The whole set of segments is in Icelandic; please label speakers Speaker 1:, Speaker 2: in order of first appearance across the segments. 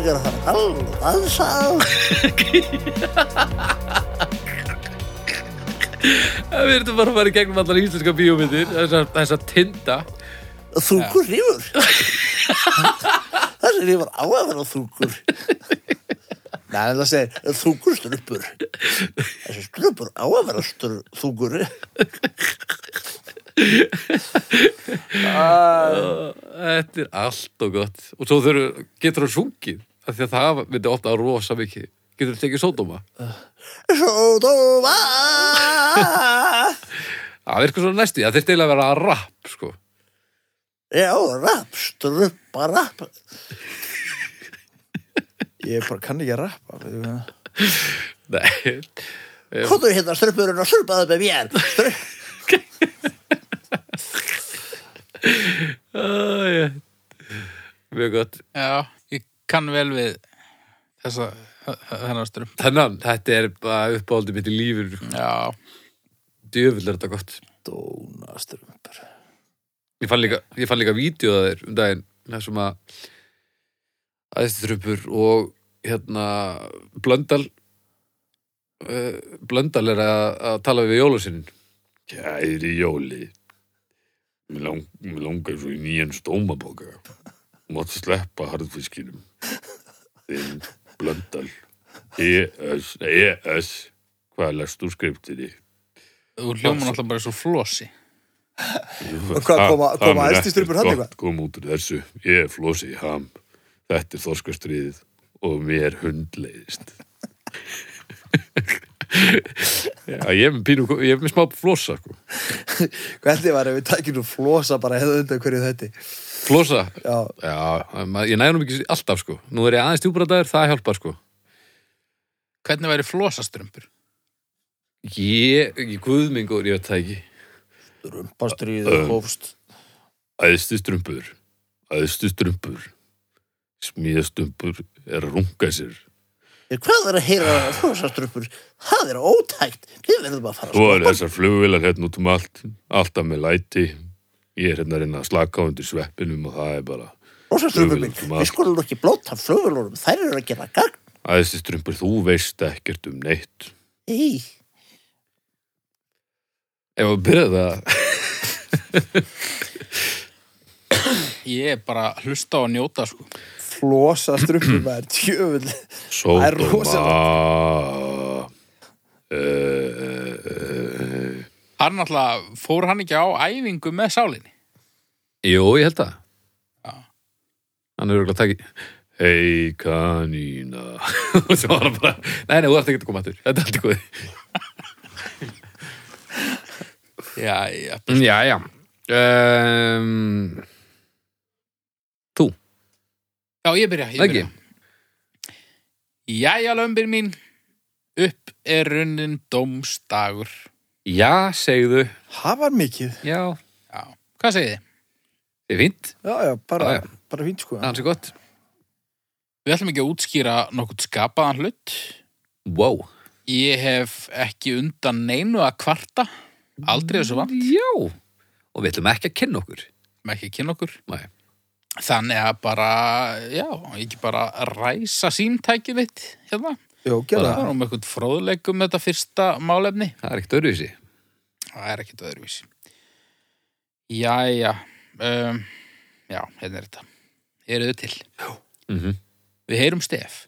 Speaker 1: Halló, hvað þá?
Speaker 2: Við erum bara að fara í gegnum allar íslenska bíómyndir þessar þessar tinda
Speaker 1: Þúkur rífur. Það sem rífur á að vera þúkur. Nei, en það segir þúkur struppur. Þessi struppur á að vera stru, þúkur.
Speaker 2: Þetta er allt og gott og svo þurfum, getur það sungið af því að það myndi opna rosa mikið getur það tekið sódóma
Speaker 1: Sódóma!
Speaker 2: það virkar svona næstu, það þurfti eiginlega að vera að rapp sko.
Speaker 1: Já, rapp, struppa, rapp.
Speaker 3: Ég bara kann ekki að rappa veitum við það.
Speaker 2: nei,
Speaker 1: Komdu hérna struppurinn og struppaðu með mér. Strupp.
Speaker 2: Æ, ég. mjög gott
Speaker 4: Já, ég kann vel við þessa, þennan strömm.
Speaker 2: þannig, þetta er bara uppáhaldi mitt í lífur
Speaker 4: Já,
Speaker 2: djöfull er þetta gott
Speaker 3: Dónastrumpur
Speaker 2: ég fann líka, ég fann líka vídeo að þeir um daginn þessum að æðistrupur og hérna Blöndal uh, Blöndal er að, að tala við jólusinn Kæri jóli mér lang, mig langar svo í nýjan stómaboka mátt sleppa harðfiskinum þinn Blöndal E ES, ES hvað lest þú skriftinni?
Speaker 4: þú hljóma náttúrulega bara svo flosi.
Speaker 3: Og hvað, koma- koma æðst í strumpur hann eitthvað?
Speaker 2: Kom út úr þessu, ég er flosi í ham Þetta er þorskastriðið og mér hundleiðist Já, ég er með pínu, ég er með smá flosa sko.
Speaker 3: Hvernig var ef við tækjum nú flosa bara hefðu undan hverju þetta
Speaker 2: Flosa,
Speaker 3: Já,
Speaker 2: já, ma- ég næði nú ekki alltaf sko Nú er ég aðeins djúbrataður, það hjálpar sko
Speaker 4: Hvernig væri flosaströmpur?
Speaker 2: Ég, ég guðmingur, ég veit það ekki
Speaker 3: strumpastriðið hófst
Speaker 2: Æðstu strumpur, æðstu strumpur Smíðastumpur er að runga sér
Speaker 1: Hvað er að heyra þúsastruppur? Það er ótækt. Við verðum að fara að
Speaker 2: Svo er þessar flugvilar hérna út um allt, alltaf með læti. Ég er hérna að reyna að slaka á undir sveppinum og það er bara
Speaker 1: Rósaströmmur minn,
Speaker 2: Flugvélum sem að-
Speaker 1: við skulum nú ekki blóta flugulórum, þær eru að gera gagn.
Speaker 2: að þessi strumpur, þú veist ekkert um neitt.
Speaker 1: Í,
Speaker 2: Ef að byrja það,
Speaker 4: Ég er bara að hlusta á að njóta, sko.
Speaker 3: Flosastrumpur maður, djöfull Það er
Speaker 2: sódóma, eh, uh,
Speaker 4: Hann náttúrulega, fór hann ekki á æfingu með sálinni?
Speaker 2: Jú, ég held það.
Speaker 4: Já.
Speaker 2: Hann er auðvitað að taki, hei kanína, og svo var hann bara, nei, nei, þú ert ekki að koma aftur, þetta er allt í góði.
Speaker 4: Já, Mm, já. Ehm,
Speaker 2: Já, já. Um,
Speaker 4: Já, ég byrja, ég
Speaker 2: ekki,
Speaker 4: byrja. Jæja, lömbir mín, upp er runnin dómstagur.
Speaker 2: já, segðu,
Speaker 3: Það var mikið
Speaker 2: já,
Speaker 4: Já, hvað segið þið?
Speaker 2: þið er fínt.
Speaker 3: Já, já, bara,
Speaker 2: Já, já.
Speaker 3: bara fínt sko
Speaker 2: Hansi gott
Speaker 4: Við ætlum ekki að útskýra nokkurt skapaðan hlut.
Speaker 2: Wow
Speaker 4: Ég hef ekki undan neinu að kvarta. Aldrei þessu vant,
Speaker 2: Já Og við ætlum ekki að kynna okkur
Speaker 4: með ekki að kynna okkur.
Speaker 2: Nei
Speaker 4: Þannig að bara, já, ekki bara ræsa símtækið mitt hérna.
Speaker 3: Jó, gera
Speaker 4: Það var
Speaker 3: það
Speaker 4: nú með eitthvað fróðleik um þetta fyrsta málefni.
Speaker 2: Það er ekkert öðruvísi
Speaker 4: Það er ekkit öðruvísi. Jæja, um, já, hérna er þetta. Eruðu til.
Speaker 2: mm -hmm.
Speaker 4: Við heyrum stef.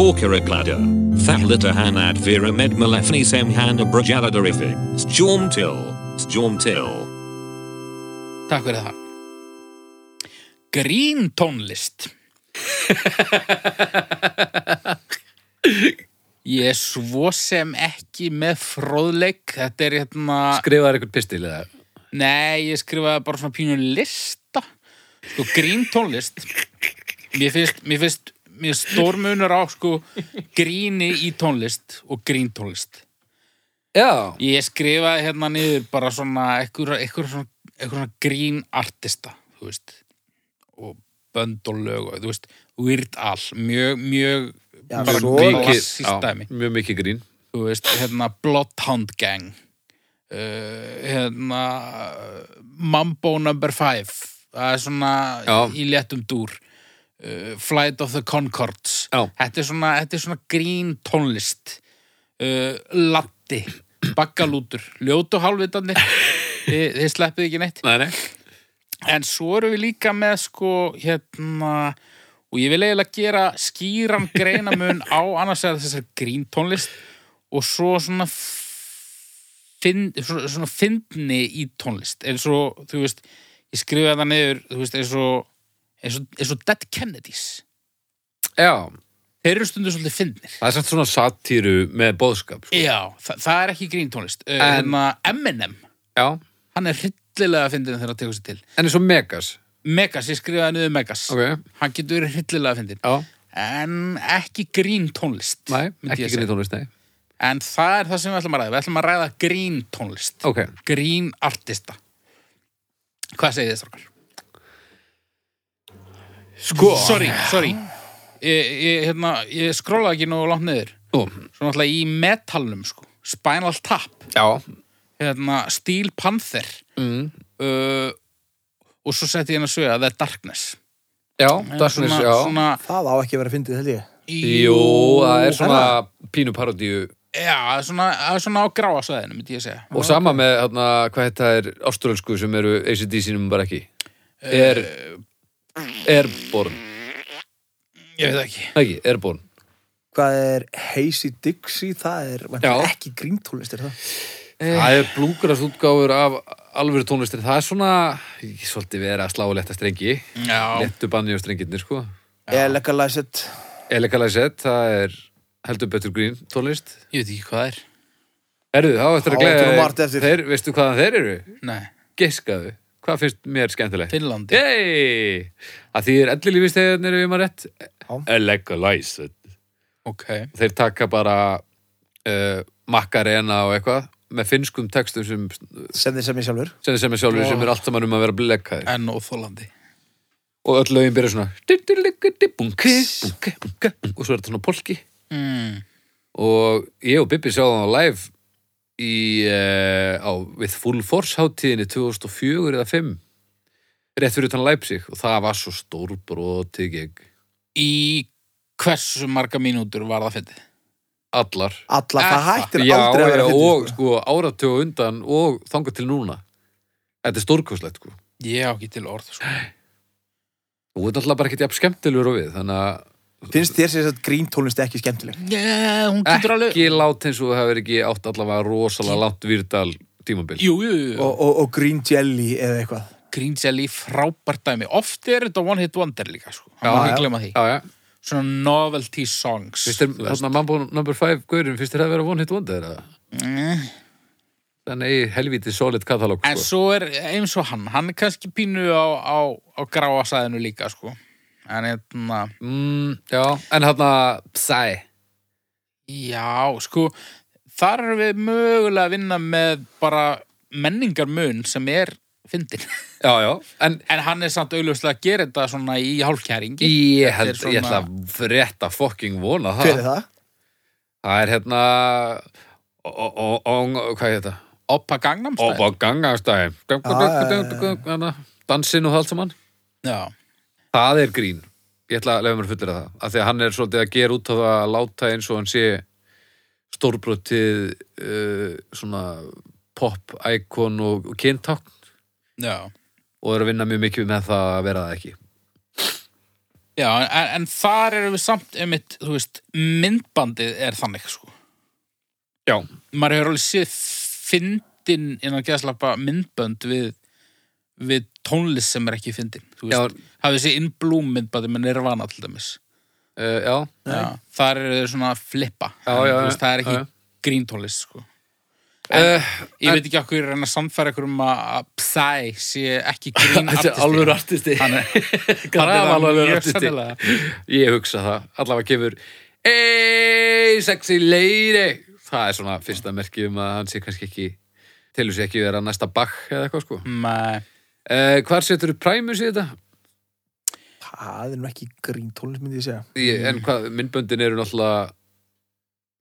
Speaker 5: Hawkeraglada, Thalita Hanad Vera Med Malefni Semhana Brajaladarifi, Stormtil, Stormtil.
Speaker 4: Takk fyrir það. Grín tónlist. Ég er svo sem ekki með fróðleik. Þetta er hérna...
Speaker 2: Skrifaðar eitthvað pistil eða
Speaker 4: Nei, ég skrifaði bara svona pínu lista sko grín tónlist mér finnst, mér finnst mér finnst stórmunur á sko gríni í tónlist og grín tónlist
Speaker 2: Já
Speaker 4: ég skrifaði hérna niður bara svona eitthvað, eitthvað, svona, eitthvað svona grín artista þú veist og bönd og lög og þú veist Weird Al, mjög, mjög
Speaker 3: Já,
Speaker 4: bara
Speaker 3: svo-
Speaker 4: klassíst
Speaker 2: já,
Speaker 4: dæmi
Speaker 2: Mjög mikið grín
Speaker 4: þú veist, hérna Bloodhound Gang uh, hérna Mambo Number 5 það er svona
Speaker 2: Já.
Speaker 4: í léttum dúr uh, Flight of the Concords
Speaker 2: Já.
Speaker 4: þetta er svona, þetta er svona grín tónlist uh, Latti Baggalútur, ljótu hálfvitarnir þið, þið sleppið ekki neitt
Speaker 2: Nei, nei.
Speaker 4: En svo erum við líka með sko hérna og ég vil eiginlega gera skýran greinamun á annars eða þessar gríntónlist og svo svona finn, svona, svona fyndni í tónlist eins og þú veist ég skrifaði það niður þú veist eins og eins og, eins og Dead Kennedys
Speaker 2: Já,
Speaker 4: þeir eru stundum svolítið fyndnir
Speaker 2: það er samt svona satíru með bóðskap. sko.
Speaker 4: Já, það, það er ekki gríntónlist en,
Speaker 2: En-
Speaker 4: hérna, Eminem,
Speaker 2: Já,
Speaker 4: hann er hryllilega fyndin þegar hann tekur sér til
Speaker 2: en eins og Megas.
Speaker 4: Megas, ég skrifaði niður Megas
Speaker 2: Ok,
Speaker 4: hann getur verið hryllilega fyndin
Speaker 2: já,
Speaker 4: en ekki grín tónlist
Speaker 2: nei,
Speaker 4: myndi
Speaker 2: ekki
Speaker 4: ég
Speaker 2: grín
Speaker 4: segja.
Speaker 2: tónlist, nei.
Speaker 4: en það er það sem við ætlum að ræða við ætlum að ræða grín tónlist
Speaker 2: Ok,
Speaker 4: grín artista hvað segir þið strókar?
Speaker 2: sko.
Speaker 4: sorry, sorry ég, ég, hérna, ég skróla ekki nú langt niður
Speaker 2: Nú,
Speaker 4: svona alltaf í metalnum sko. Spinal Tap,
Speaker 2: já,
Speaker 4: hérna, Steel Panther
Speaker 2: mm,
Speaker 4: uh, og svo setti ég hérna sögja The Darkness
Speaker 2: já, Darkness, já.
Speaker 4: svona,
Speaker 3: Það á ekki að vera fyndið, held ég.
Speaker 2: Jú, það er svona pínu parodíu
Speaker 4: já, það er svona, það er svona á gráa svæðinu myndi ég segja
Speaker 2: og sama með, hérna, hvað þetta er áströlsku sem eru ACDC-num bara ekki
Speaker 4: Eh.
Speaker 2: er Airborne,
Speaker 4: ég veit það ekki
Speaker 2: Nei, ekki, Airborne
Speaker 3: Hvað er Hazy Dixie? Það er væntanlega
Speaker 2: Já.
Speaker 3: ekki gríntónlist, er það?
Speaker 4: Eh.
Speaker 2: Það er blúgrast útgáfur af alvöru tónlistin, það er svona ég svolítið vera að slá og letta strengi
Speaker 4: já,
Speaker 2: lettu banni á strengirnir, sko
Speaker 3: Ég legalize it.
Speaker 2: Elekalæsett, það er heldur betur grín tónlist
Speaker 4: ég veit ekki hvað það er
Speaker 2: Herðu, þá eftir að
Speaker 3: Þá ertu nú
Speaker 2: glega
Speaker 3: margt eftir.
Speaker 2: þeir, veistu hvaðan þeir eru?
Speaker 4: Nei,
Speaker 2: Geskaðu, hvað finnst mér skemmtilegt?
Speaker 4: Finnlandi
Speaker 2: Yey! Að því er ellilífistegjarnir ef ég maður rétt eh, Legalize
Speaker 4: Ok,
Speaker 2: Þeir taka bara uh, makkarena og eitthvað með finnskum textum sem
Speaker 3: Sem þið sem ég sjálfur.
Speaker 2: sem, sem er sjálfur
Speaker 4: Wow.
Speaker 2: sem er allt saman um að vera blekkaðir
Speaker 4: en óþólandi
Speaker 2: og öll lögin byrja svona "Diddillikidibunki, bunki, bunki", og svo er þetta svona polki
Speaker 4: mm.
Speaker 2: og ég og Bibbi sjáðum á live í, uh, á, við Full Force hátíðinni 2004 eða 5 rétt fyrir utan Leipzig og það var svo stórbrotið gegn
Speaker 4: Í hversu marga mínútur var það fyndið?
Speaker 2: allar
Speaker 3: Alla, það
Speaker 4: Eh,
Speaker 3: hættir
Speaker 2: já,
Speaker 3: aldrei að
Speaker 2: já,
Speaker 3: vera
Speaker 2: og
Speaker 3: fyndið. sko.
Speaker 2: sko áratug á undan og þangað til núna þetta er stórkostlegt sko
Speaker 4: Ég á ekki til orð sko.
Speaker 2: og þetta er alltaf bara ekkert jafn skemmtilegur og við þannig að
Speaker 3: Finnst þér sem sagt gríntónlist ekki skemmtileg?
Speaker 4: yeah, Hún getur alveg
Speaker 2: ekki lát eins og það hefur ekki átt allavega rosalega látt výrdal tímabil
Speaker 4: Jú, jú, jú,
Speaker 3: Og, og, og grín jelly eða eitthvað.
Speaker 4: Green Jelly frábært dæmi Oft er þetta One Hit Wonder líka sko.
Speaker 2: Já,
Speaker 4: Já, eh, sko. má
Speaker 3: já.
Speaker 4: ekki glemma því
Speaker 2: já, já,
Speaker 4: Svona novelty songs
Speaker 2: finnst þér þarna Mambo number 5 gaurin, finnst þér það að vera one hit wonder eða?
Speaker 4: Mm.
Speaker 2: þannig eigi helvítið solid katalóg
Speaker 4: En
Speaker 2: sko.
Speaker 4: svo er eins og hann Hann er kannski pínu á, á, á gráa sæðinu líka sko. En hérna
Speaker 2: mm, já, en þarna Psy,
Speaker 4: Já, sko, þar erum við mögulega að vinna með bara menningarmun sem er fyndin.
Speaker 2: já, já en
Speaker 4: En hann er samt auðvitað að gera þetta svona í hálfkæringi.
Speaker 2: ég held,
Speaker 4: Þetta er
Speaker 2: ég ætla
Speaker 4: svona-
Speaker 2: að frétta fucking vona það
Speaker 3: Hver er það?
Speaker 2: Það er hérna ó- ó- ó- ó- Hvað er þetta?
Speaker 4: Oppa Gangnam
Speaker 2: Ó,
Speaker 4: Style.
Speaker 2: á ganganstæðin Dansinn og það allt saman
Speaker 4: Já,
Speaker 2: Það er grín Ég ætla að lefa mér fullir að það af því að hann er svolítið að gera út á það að láta eins og hann sé stórbrotið uh, svona pop íkon og, og kyntákn
Speaker 4: já.
Speaker 2: og er að vinna mjög mikið með það að vera það ekki
Speaker 4: Já, en, en þar erum við samt einmitt, þú veist, myndbandið er þannig, sko.
Speaker 2: Já,
Speaker 4: Maður hefur alveg séð fyndin innan geðslappa myndbönd við, við tónlist sem er ekki fyndin. Þú
Speaker 2: já,
Speaker 4: veist, hafið séð In Bloom myndbandið með Nirvana til dæmis.
Speaker 2: uh, já
Speaker 4: Já, þar eru þeir svona að flippa
Speaker 2: Já, já,
Speaker 4: En, þú
Speaker 2: já,
Speaker 4: veist, það er ekki
Speaker 2: já, já.
Speaker 4: gríntónlist sko.
Speaker 2: uh,
Speaker 4: ég
Speaker 2: En-
Speaker 4: veit ekki okkur en að sannfæra okkur um að að Psy sé ekki grín
Speaker 2: Þetta er alveg artisti
Speaker 4: hann er
Speaker 2: Hann er alveg
Speaker 4: mjög
Speaker 2: artisti.
Speaker 4: sennilega
Speaker 2: Ég hugsa það, allavega kemur Ey, sexy lady Það er svona fyrsta merki um að hann sé kannski ekki telur sér ekki vera næsta bakk eða eitthvað sko
Speaker 4: Nei,
Speaker 2: uh, Hvar setur þú præmus í þetta?
Speaker 3: Það er nú ekki gríntónlist, myndi ég segja.
Speaker 2: Ég, En hvað, myndböndin eru náttúrulega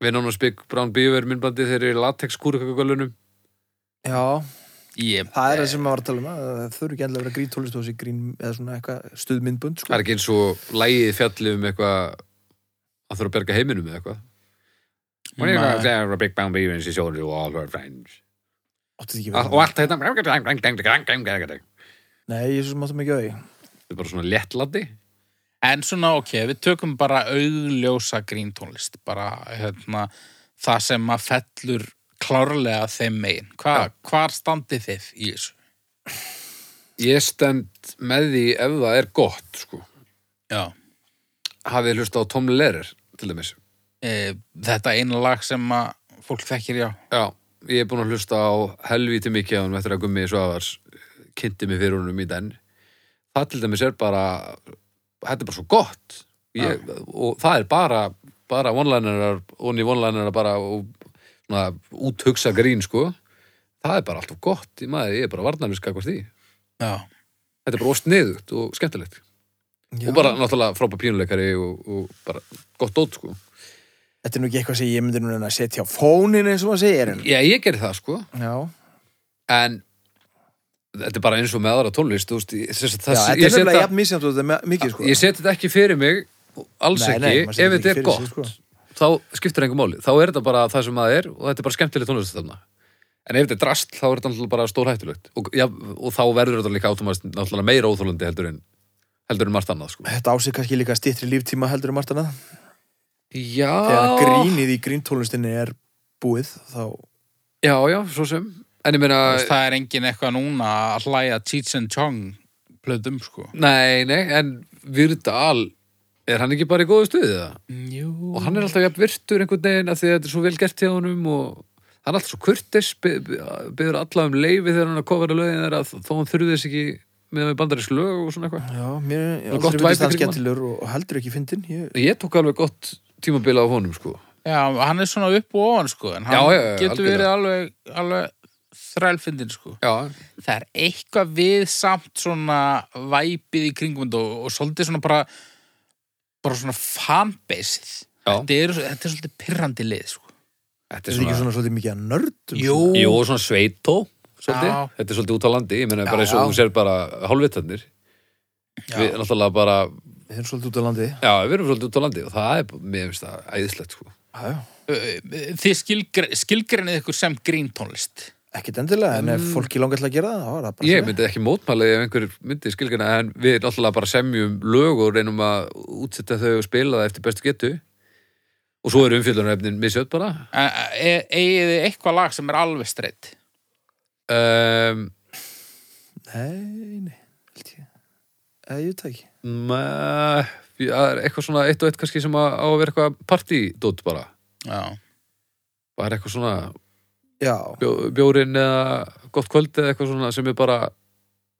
Speaker 2: Við nánum spik Brown Beaver myndbandi þeir eru í latex kúrukakakölunum
Speaker 3: Já,
Speaker 4: Ég,
Speaker 3: Það er það sem maður var að tala um að það þurfi ekki endilega að vera grín tólist og þessi grín eða svona eitthvað stuðmyndbund
Speaker 2: Það
Speaker 3: sko.
Speaker 2: er ekki eins og lægið fjalli um eitthvað að þurfa að berga heiminum eða eitthvað. Hún er eitthvað að segja að Big Bang Theory is only all her friends.
Speaker 3: Átti þið ekki
Speaker 2: Al- Ah, Og allt þetta Þetta
Speaker 3: Nei, ég er svo sem áttum ekki á því
Speaker 2: er bara svona léttlandi
Speaker 4: En svona, ok, við tökum bara augljósa gríntónlist, bara hérna, það sem að fellur klárlega þeim megin. Hva, Hvar standið þið í þessu?
Speaker 2: Ég stend með því ef það er gott sko.
Speaker 4: Já.
Speaker 2: Hafið hlusta á Tom Lehrer til dæmis
Speaker 4: E, þetta eina lag sem að fólk þekkir, já.
Speaker 2: Já, ég er búin að hlusta á helvíti mikið á hann eftir að gummi svafars kynnti mig fyrir honum í den það til dæmis er bara þetta er bara svo gott ég, og það er bara bara vonlænirar, onni vonlænirar bara og svona úthugsa grín sko, það er bara alltaf gott í maður, ég er bara varnarniska hvort því
Speaker 4: Já.
Speaker 2: þetta er bara ósniðugt og skemmtilegt
Speaker 3: Já.
Speaker 2: og bara náttúrulega frábæð pínuleikari og, og bara gott dót sko
Speaker 3: Þetta er nú ekki eitthvað sem ég myndi núna að setja á fónin eins og maður segir en...
Speaker 2: Já, ég gerði það sko
Speaker 3: Já,
Speaker 2: en þetta er bara eins og með aðra tónlist þú veist, ég, þess,
Speaker 3: Já
Speaker 2: þess,
Speaker 3: þetta
Speaker 2: ég,
Speaker 3: er
Speaker 2: set
Speaker 3: nefnilega
Speaker 2: það,
Speaker 3: jafn misjant og þetta er mikið sko
Speaker 2: ég set þetta ekki fyrir mig alls
Speaker 3: Nei, nei,
Speaker 2: ekki,
Speaker 3: maður
Speaker 2: ef
Speaker 3: setur
Speaker 2: þetta
Speaker 3: ekki
Speaker 2: er
Speaker 3: fyrir
Speaker 2: gott
Speaker 3: sig, sko.
Speaker 2: þá skiptir engum máli, þá er þetta bara það sem það er og þetta er bara skemmtileg tónlist þarna en ef þetta er drast, þá er þetta náttúrulega bara stórhættulegt og, ja, og þá verður þetta líka átumast náttúrulega meira óþólandi heldur en heldur en margt annað sko.
Speaker 3: Þetta ásið kannski líka stittri líftíma heldur um margt annað Þegar
Speaker 2: já,
Speaker 3: grínið í gríntónlistinni er búið þá
Speaker 2: já, já, svo sem en ég meina,
Speaker 4: Þú veist, Það er engin eitthvað núna að hlæja Cheech and Chong plöðum, sko.
Speaker 2: nei, nei en Virdal, er hann ekki bara í góðu stuðið það?
Speaker 4: Jú.
Speaker 2: og hann er alltaf jafn virtur einhvern veginn af því að þetta er svo vel gert hjá honum og hann er alltaf svo kurtis byður alla um leifi þegar hann er að kofara lögin þeirra þó hann þurfi þess ekki með með bandarísk lög og svona eitthvað
Speaker 3: Já, mér er
Speaker 2: gott
Speaker 3: aldrei
Speaker 2: væp í
Speaker 3: veitist það
Speaker 2: kringum hann.
Speaker 3: skemmtilegur og og heldur ekki fyndin ég...
Speaker 2: ég tók alveg gott tímabila á honum sko
Speaker 4: Já, hann er svona upp og ofan, sko, en hann
Speaker 2: Já, já, já,
Speaker 4: getur
Speaker 2: algjörlega.
Speaker 4: verið alveg, alveg þrælfindin, sko.
Speaker 2: já,
Speaker 4: það er eitthvað við samt svona væpið í kringum þetta og, og svolítið svona bara bara svona fanbase
Speaker 2: Já.
Speaker 4: þetta er, þetta er svolítið pirrandi lið sko.
Speaker 2: þetta
Speaker 3: Er það
Speaker 2: er
Speaker 3: ekki
Speaker 2: svona,
Speaker 3: svona svolítið mikið að nördum?
Speaker 4: Jú.
Speaker 3: svona?
Speaker 2: jú, svona sveitó svolítið,
Speaker 4: Já.
Speaker 2: þetta er svolítið út á landi ég meina
Speaker 3: Já,
Speaker 2: bara eins og
Speaker 3: já.
Speaker 2: hún sér bara hálfvitarnir við náttúrulega bara
Speaker 3: Við erum svolítið út á landi
Speaker 2: já, við erum svolítið út á landi og það er, mér finnst það æðislegt sko
Speaker 3: Já, já.
Speaker 4: Ö, ö, þið skilgre, skilgreinið ykkur sem gríntónlist
Speaker 3: Ekkert endilega, en ef fólki langar til að gera það þá er það bara
Speaker 2: Mm. Ég
Speaker 3: svona.
Speaker 2: myndi ekki mótmæla ef einhver myndi skilgjana en við náttúrulega bara semjum lög og reynum að útsetta þau og spila það eftir bestu getu og svo eru umfjöldunarefnin misjöld bara
Speaker 4: E- e- eigið þið eitthvað lag sem er alveg streitt
Speaker 2: um,
Speaker 3: Nei, nei, held ég Eða ég veit það ekki
Speaker 2: ma- Það er eitthvað svona eitt og eitt kannski sem að, á að vera eitthvað partydót bara
Speaker 4: já,
Speaker 2: bara eitthvað svona
Speaker 3: Já,
Speaker 2: bjó, bjórin eða gott kvöld eða eitthvað svona sem er bara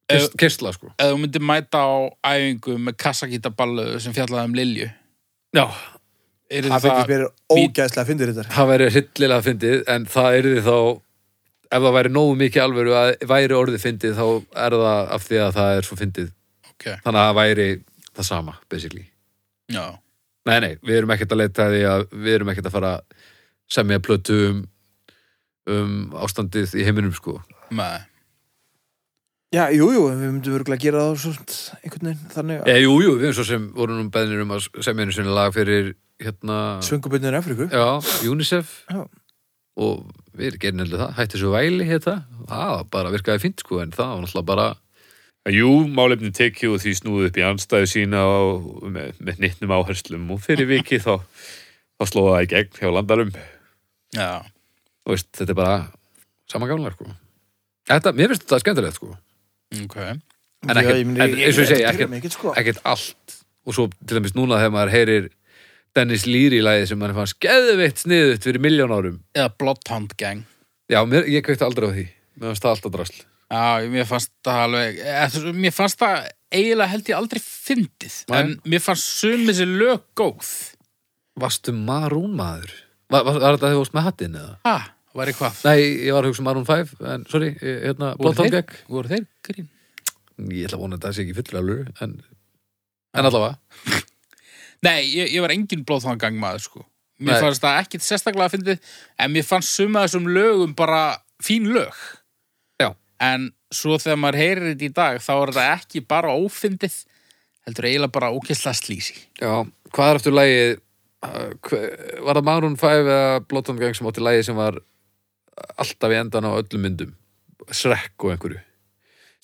Speaker 2: kist, kistla sko
Speaker 4: ef þú myndir mæta á æfingu með kassakítaballu sem fjallaði um Lilju
Speaker 2: Já,
Speaker 4: er
Speaker 3: það fyrir
Speaker 4: það,
Speaker 3: mér ógæðslega fyndir þetta
Speaker 2: það væri hryllilega fyndið en það yrði þá ef það væri nógu mikið alvöru að væri orðið fyndið þá er það af því að það er svo fyndið
Speaker 4: ok,
Speaker 2: þannig að það væri það sama basically.
Speaker 4: já
Speaker 2: Nei, nei, við erum ekkert að leita að því að við erum ekkert að fara að semja plötu um, um ástandið í heiminum sko
Speaker 4: með
Speaker 3: Já, jú, jú, en við myndum örgulega að gera það svolít einhvern veginn, þannig að
Speaker 2: e, Jú, jú, við erum svo sem vorum nú beðnir um að semja einu sinni lag fyrir hérna,
Speaker 3: Svönguböndin Afriku
Speaker 2: já, UNICEF
Speaker 3: Já.
Speaker 2: og við gerum heldur það hætti svo væli hérna, það bara virkaði fínt sko en það var náttúrulega bara Jú, málefni tekju og því snúðu upp í anstæðu sína og með, með nittnum áherslum og fyrir viki þá, þá slóða það í gegn hjá landarum
Speaker 4: já,
Speaker 2: Þú veist, þetta er bara sama gamla sko. þetta, mér finnst þetta skemmtilegt sko.
Speaker 4: ok
Speaker 2: en ekkert,
Speaker 3: ég myndi-
Speaker 2: en eins og ég segi ekkert,
Speaker 3: ekkert, sko.
Speaker 2: ekkert allt og svo til dæmis núna þegar maður heyrir Dennis Leary lagið sem maður fannst geðveitt sniðut fyrir miljón árum
Speaker 4: eða Bloodhound Gang
Speaker 2: já, mér, ég kveikti aldrei á því mér fannst það alltaf drasl
Speaker 4: Já, mér fannst það alveg eða, þú veist, Mér fannst það eiginlega held ég aldrei fyndið
Speaker 2: Nei.
Speaker 4: En mér fannst sumið þessi lög góð
Speaker 2: varstu Maroon maður? Var, var, var þetta þegar þú varst með hattinn eða?
Speaker 4: Ha, var ég hvað?
Speaker 2: Nei, ég var að hugsa um Maroon 5 en, sorry, ég- hérna, Blóttón
Speaker 4: þeir,
Speaker 2: gegn
Speaker 4: voru þeir grín?
Speaker 2: ég ætla að vona að það sé ekki fullur alvöru en, en allavega
Speaker 4: Nei, ég, ég var engin blóðþangang maður sko Mér
Speaker 2: Nei.
Speaker 4: fannst það ekkit sérstaklega fyndið En mér fannst sumið þessum lögum bara fín lög
Speaker 2: Já.
Speaker 4: en svo þegar maður heyrir þetta í dag þá er þetta ekki bara ófindið heldur eiginlega bara ókessla slísi
Speaker 2: Já, hvað er eftir lagið uh, hve- Var það Maroon 5 eða Blóttan Gang sem átti lagið sem var alltaf í endan á öllum myndum Shrek og einhverju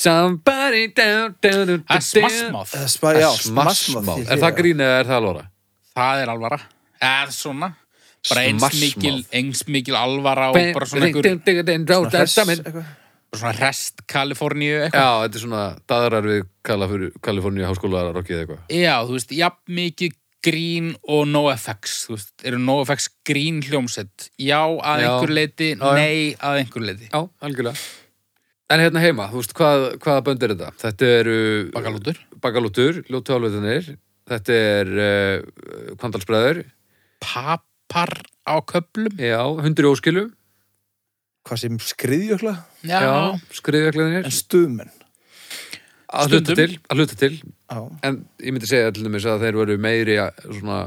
Speaker 2: Somebody down, down, down,
Speaker 4: Það
Speaker 2: down
Speaker 4: er smassmáð,
Speaker 3: Eh, spa- já, smassmouth,
Speaker 2: Smassmáð,
Speaker 3: ég
Speaker 2: er
Speaker 3: sé
Speaker 2: það grín eða er það alvara?
Speaker 4: það er alvara eða svona, bara eins
Speaker 2: Smassmouth.
Speaker 4: mikil eins mikil alvara og bara svona einhver,
Speaker 3: Svona hress,
Speaker 2: einhver
Speaker 3: eitthvað.
Speaker 4: bara svona rest Kaliforníu eitthvað
Speaker 2: Já, þetta er svona daðrar við Kaliforníu háskólaðar og geða eitthvað
Speaker 4: Já, þú veist, jafn mikið grín og NoFX, þú veist, eru NoFX grín hljómsett? Já, að
Speaker 2: Já.
Speaker 4: einhver leiti,
Speaker 2: Já, já.
Speaker 4: nei, að einhver leiti.
Speaker 2: Já, algjörlega En hérna heima, þú veist, hvað, hvaða bönd er þetta? Þetta eru
Speaker 4: Bakalútur.
Speaker 2: Bakalútur, Ljótu álveitunir Þetta er uh, Kvandalsbræður
Speaker 4: Papar á köplum?
Speaker 2: Já, hundur í óskilum
Speaker 3: Hvað sem skriðjökla?
Speaker 4: Já.
Speaker 2: skriðjöklinir
Speaker 3: En stuðmenn.
Speaker 2: Að hluta
Speaker 4: stundum.
Speaker 2: til, að hluta til
Speaker 3: Já.
Speaker 2: En ég myndi segja til dæmis að þeir voru meiri svona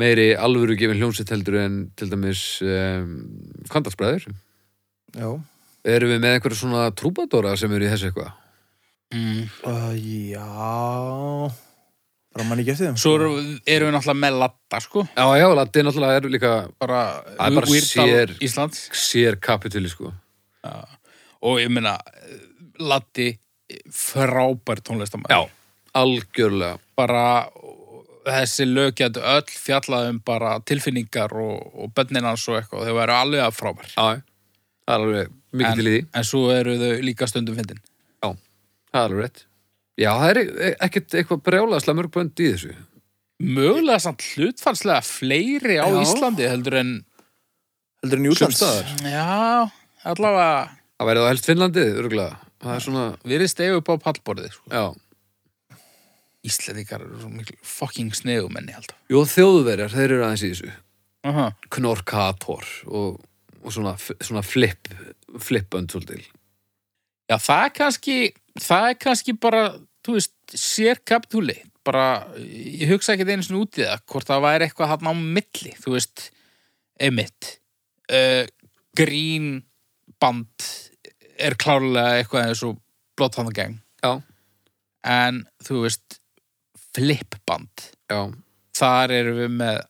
Speaker 2: meiri alvöru gefin hljómsett heldur en til dæmis um, Kvandalsbræður
Speaker 3: Já.
Speaker 2: Erum við með einhverja svona trúbadóra sem eru í þessu eitthvað?
Speaker 4: Mm.
Speaker 3: Uh, já. Bara mann ekki eftir þeim.
Speaker 4: Svo eru, eru við náttúrulega með latta, sko,
Speaker 2: Já, já, Latti náttúrulega er líka
Speaker 4: bara,
Speaker 2: Það er bara
Speaker 4: Weirdal
Speaker 2: sér-
Speaker 4: Íslands.
Speaker 2: sér kapitúli sko
Speaker 4: Og ég meina, latti frábær tónlistamæður.
Speaker 2: Já, algjörlega
Speaker 4: bara þessi lög getur öll fjallað um bara tilfinningar og, og bönninans og eitthvað, þau væru alveg að frábær
Speaker 2: Já, það er alveg mikið
Speaker 4: en,
Speaker 2: til í því
Speaker 4: en svo eru þau líka stundum fyndin
Speaker 2: Já, það er alveg rétt Já, það er e- ekkert eitthvað brjálaðslega mörg bönd í þessu
Speaker 4: mögulega samt hlutfarslega fleiri á
Speaker 3: Já.
Speaker 4: Íslandi heldur en
Speaker 3: Heldur en Júlands.
Speaker 2: staðar.
Speaker 4: já, allavega
Speaker 2: Það væri þá helst Finnlandið, örgulega Það er svona,
Speaker 4: við erum stegu upp á pallborðið sko.
Speaker 2: já
Speaker 4: Íslandingar eru svo miklu fucking snegumenni alltaf
Speaker 2: Jú, þjóðverjar, þeir eru aðeins í þessu
Speaker 4: uh -huh.
Speaker 2: Knorkator og, og svona, f- svona flip flipbönd svolítil
Speaker 4: já, það er kannski það er kannski bara, þú veist sér kapitúli, bara ég hugsa ekki einu sinni út í það, hvort það væri eitthvað hann á milli, þú veist emitt uh, grín band er klárlega eitthvað eins og blóttandagang
Speaker 2: Já,
Speaker 4: en þú veist flipband,
Speaker 2: já,
Speaker 4: þar erum við með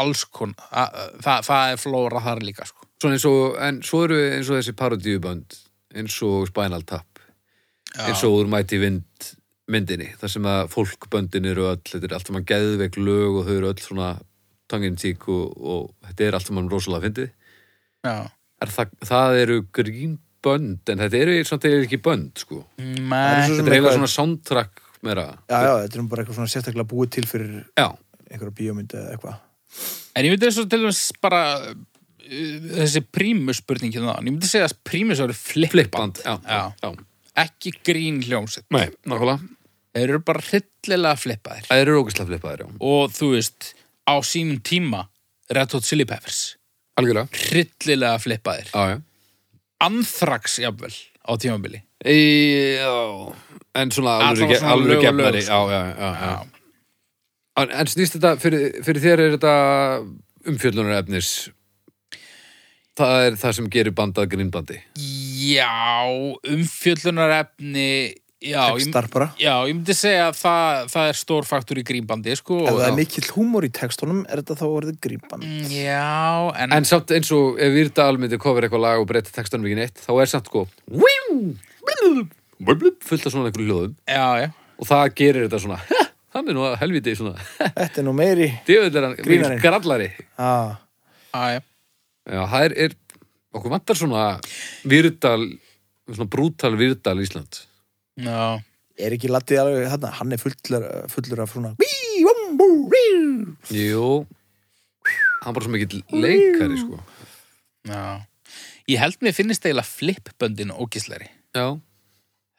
Speaker 4: alls kon það, það er flóra þar líka sko.
Speaker 2: svona eins og en svo eru eins og þessi parodíubönd eins og Spinal Tap eins og úr mæti vind myndinni, þar sem að fólkböndin eru öll, þetta er allt saman geðveik lög og þau eru öll svona tangin tík og, og þetta er allt saman rosalega fyndið.
Speaker 4: já.
Speaker 2: Er það, það eru grínbönd en þetta eru samt eða ekki bönd sko.
Speaker 3: Það er svo
Speaker 4: Nei,
Speaker 3: sem
Speaker 2: Þetta er eiginlega
Speaker 3: eitthvað-
Speaker 2: svona soundtrack meira.
Speaker 3: Já, já, þetta er nú bara eitthvað svona sérstaklega búið til fyrir
Speaker 2: Já,
Speaker 3: einhverja bíómynd eða eitthvað.
Speaker 4: En ég myndi þessu til dæmis bara uh, þessi prímus spurning hérna áðan. ég myndi segja að prímus eru flipband,
Speaker 2: flipband. Já,
Speaker 4: Já.
Speaker 2: já.
Speaker 4: ekki grín hljómsett.
Speaker 2: Nei, nákvæmlega.
Speaker 4: Þeir eru bara hryllilega flippaðir.
Speaker 2: Það eru rókislega flippaðir, já.
Speaker 4: Og þú veist, á sínum tíma Red Hot Chili Peppers,
Speaker 2: Algjörlega.
Speaker 4: hryllilega flippaðir.
Speaker 2: Já, já.
Speaker 4: Anthrax jafnvel á tímabili.
Speaker 2: Í, já. En svona alveg,
Speaker 4: Allavega svona
Speaker 2: alveg
Speaker 4: lög og lög,
Speaker 2: gefnari. Já,
Speaker 4: sko.
Speaker 2: já, já. já. En, en snýst þetta, fyrir, fyrir þér er þetta umfjöllunarefnis það er það sem gerir bandað grinnbandi
Speaker 4: Já, umfjöllunarefni, já, ég,
Speaker 3: Tekstar bara.
Speaker 4: já, ég myndi segja að það, það er stór faktur í grínbandi, sko.
Speaker 3: Ef það
Speaker 4: Já.
Speaker 3: er mikill húmor í tekstunum, er þetta þá orðið grípan.
Speaker 4: Mm. Já, en,
Speaker 2: en samt eins og ef Výrdal myndi kofir eitthvað lag og breyta textanum ekki neitt þá er samt sko víú, blub, blub, fullt af svona einhverju hljóðum
Speaker 4: já, já.
Speaker 2: og það gerir þetta svona "Ha, hann er nú að helviti svona
Speaker 3: Þetta er nú meiri.
Speaker 2: djöfull er hann mikill
Speaker 3: Grínarinn.
Speaker 2: grallari
Speaker 3: Ah.
Speaker 4: Já, já.
Speaker 2: Já, það er, er okkur vantar svona Výrdal svona brútal Výrdal Ísland
Speaker 4: Já.
Speaker 3: Er ekki Latti alveg þarna? Hann er fullur, fullur af svona... Bí, bom, bú, bí.
Speaker 2: Jú hann er bara svo mikill leikari sko
Speaker 4: Já. Ég held mér finnist eiginlega flipböndin ógisleiri.
Speaker 2: Já,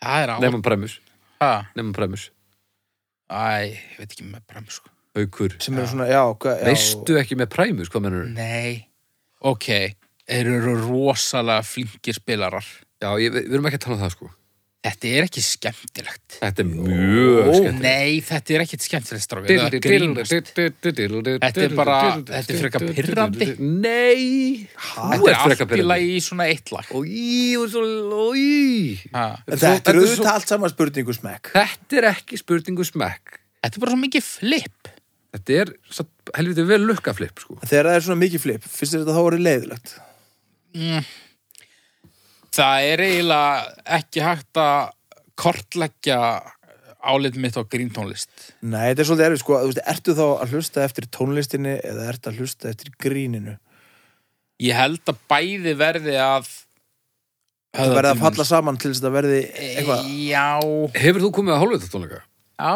Speaker 4: Það er á...
Speaker 2: nefnum præmus
Speaker 4: Ha?
Speaker 2: nefnum præmus,
Speaker 4: Æ, ég veit ekki með bram, sko.
Speaker 2: aukur
Speaker 3: Sem eru svona, já, hvað... já.
Speaker 2: veistu ekki með præmus, hvað mennur
Speaker 4: Mm. Nei. Ok, þeir eru rosalega flinkir spilarar.
Speaker 2: já, ég, við við erum ekki að tala um það sko
Speaker 4: Þetta er ekki skemmtilegt.
Speaker 2: Þetta er mjög
Speaker 3: Ó,
Speaker 2: skemmt.
Speaker 4: Nei, þetta er ekkit skemmtilegt, strákar. Það er að grínast.
Speaker 2: Þetta
Speaker 4: Þetta er bara- þetta er frekar pirrandi.
Speaker 2: Nei
Speaker 4: Þetta er
Speaker 2: frekar
Speaker 4: allt í
Speaker 2: pirrandi.
Speaker 4: lagi í svona eitt lag.
Speaker 2: Í, og svo, í
Speaker 4: Ha.
Speaker 2: Þetta
Speaker 1: Þetta
Speaker 2: er svo-
Speaker 1: er auðvitað allt saman spurningu smekk.
Speaker 2: Þetta er ekki spurningu smekk
Speaker 4: Þetta er bara svo mikið flip.
Speaker 2: Þetta er satt, helviti vel lukkaflip sko.
Speaker 3: Þegar það er svona mikið flip, finnst þér þetta þá orðið leiðilegt?
Speaker 4: Það er eiginlega ekki hægt að kortleggja álit mitt á gríntónlist.
Speaker 3: Nei, þetta er svolítið erfið, sko, þú veist, ertu þá að hlusta eftir tónlistinni eða ertu að hlusta eftir gríninu?
Speaker 4: Ég held að bæði verði að
Speaker 3: Það verði að falla saman til þess að þetta verði eitthvað.
Speaker 4: Já,
Speaker 2: Hefur þú komið að hálfvita tónleika?
Speaker 4: já,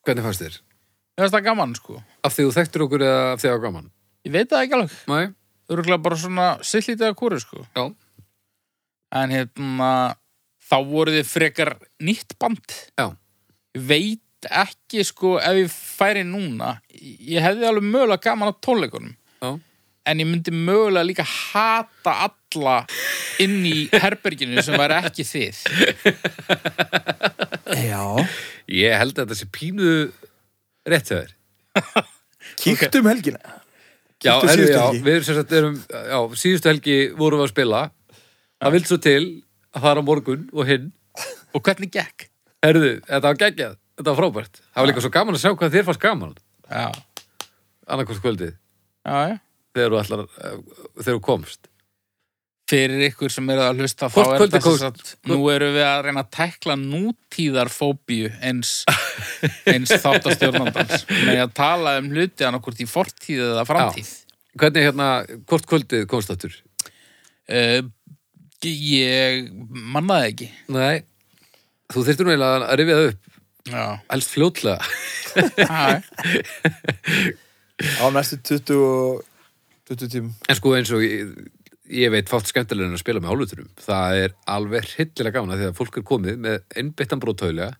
Speaker 2: Hvernig fannst þér?
Speaker 4: mér finnst það gaman sko.
Speaker 2: Af því þú þekktir okkur eða af því það var gaman?
Speaker 4: Ég veit það ekki alveg.
Speaker 2: Nei,
Speaker 4: Örgulega bara svona sittlítið að kúru sko.
Speaker 2: já
Speaker 4: En hérna, þá voru þið frekar nýtt band.
Speaker 2: Já.
Speaker 4: Ég Veit ekki sko, ef ég færi núna, ég hefði alveg mögulega gaman að tónleikunum.
Speaker 2: Já.
Speaker 4: En ég myndi mögulega líka hata alla inn í herberginu sem var ekki þið.
Speaker 3: Já.
Speaker 2: Ég held að þetta sé pínu rétt hjá þér
Speaker 3: Kíktum okay. um helgina.
Speaker 2: Já,
Speaker 3: Kíktu
Speaker 2: herru,
Speaker 3: síðustu
Speaker 2: já,
Speaker 3: helgi.
Speaker 2: við erum sem sagt erum, já, síðustu helgi vorum við að spila Það vilt svo til að það er á morgun og hinn
Speaker 4: Og hvernig gekk?
Speaker 2: Herðu, þetta var geggjað, þetta var frábært Það var líka svo gaman að sjá hvað þér fannst gaman
Speaker 4: Já,
Speaker 2: annarkvort kvöldið,
Speaker 4: já, já.
Speaker 2: þegar þú allar þegar þú komst
Speaker 4: Fyrir ykkur sem eru að hlusta,
Speaker 2: Hvort
Speaker 4: þá er
Speaker 2: kvöldið
Speaker 4: þetta
Speaker 2: komst-
Speaker 4: sem sagt, nú eru við að reyna að tækla nútíðarfóbíu eins, eins þáttastjórnandans. Með að tala um hluti annarkvort í fortíð eða framtíð.
Speaker 2: Hvernig hérna, hvort kvöldið komst áttur?
Speaker 4: Uh, ég mannaði ekki.
Speaker 2: Nei Þú þyrftir nú eiginlega að rifja það upp
Speaker 4: Já,
Speaker 2: helst fljótlega
Speaker 4: já,
Speaker 3: Á næstu 20, og- 20 tímum.
Speaker 2: En sko eins og ég, ég veit fátt skemmtilega en að spila með hálfuturum það er alveg hryllilega gaman að því að fólk er komið með einbyttan brótaulega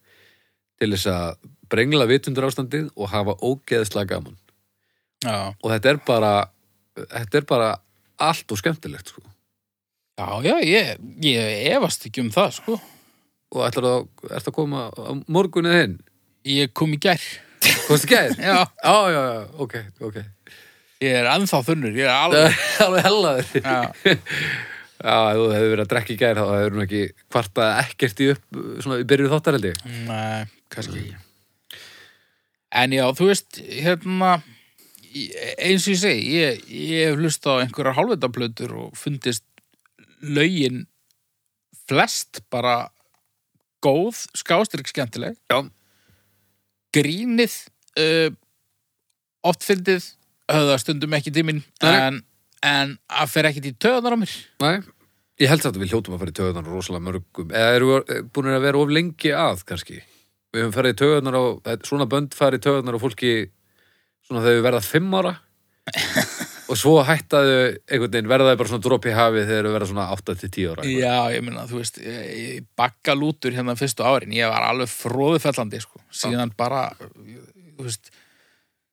Speaker 2: til þess að brengla vitundur ástandið og hafa ógeðslega gaman
Speaker 4: já.
Speaker 2: og þetta er bara þetta er bara allt og skemmtilegt sko.
Speaker 4: Já, já, ég, ég efast ekki um það, sko.
Speaker 2: og ætlar það, ert að koma á morgun eða hinn?
Speaker 4: Ég kom í gær.
Speaker 2: Komstu gæðir?
Speaker 4: Já.
Speaker 2: Já, já, já, ok, ok
Speaker 4: Ég er ennþá þunnur, ég er alveg.
Speaker 2: Alveg hellaður Já,
Speaker 4: Já,
Speaker 2: ef þú hefur verið að drekka í gæðir þá hefur hún ekki kvartað ekkert í upp svona í byrjuð þáttar held ég
Speaker 4: Nei, kannski ekki. En já, þú veist, hérna, ég- eins og ég segi, ég, ég hef hlustað á einhverjar hálfvitaplötur og fundist lögin flest bara góð, skástrík skemmtileg.
Speaker 2: Já.
Speaker 4: Grínið, uh, oft fyndið, höfða stundum ekki tíminn,
Speaker 2: Nei.
Speaker 4: en, en að fer ekkit í töðanar á mér.
Speaker 2: Nei, ég held samt að við hljótum að fara í töðunar rosalega mörgum eða erum við búin að vera of lengi að kannski Við höfum farið í töðunar á eh, svona bönd farið í töðunar á fólki svona þegar við verða fimm ára og svo hættaðu einhvern veginn verða þau bara svona dropi hafið þegar þau verða svona 8-10 ára eitthvað.
Speaker 4: Já, ég meina, þú veist, ég, ég bakka lútur hérna fyrstu árin, ég var alveg fróðufellandi, sko, síðan bara, þú veist,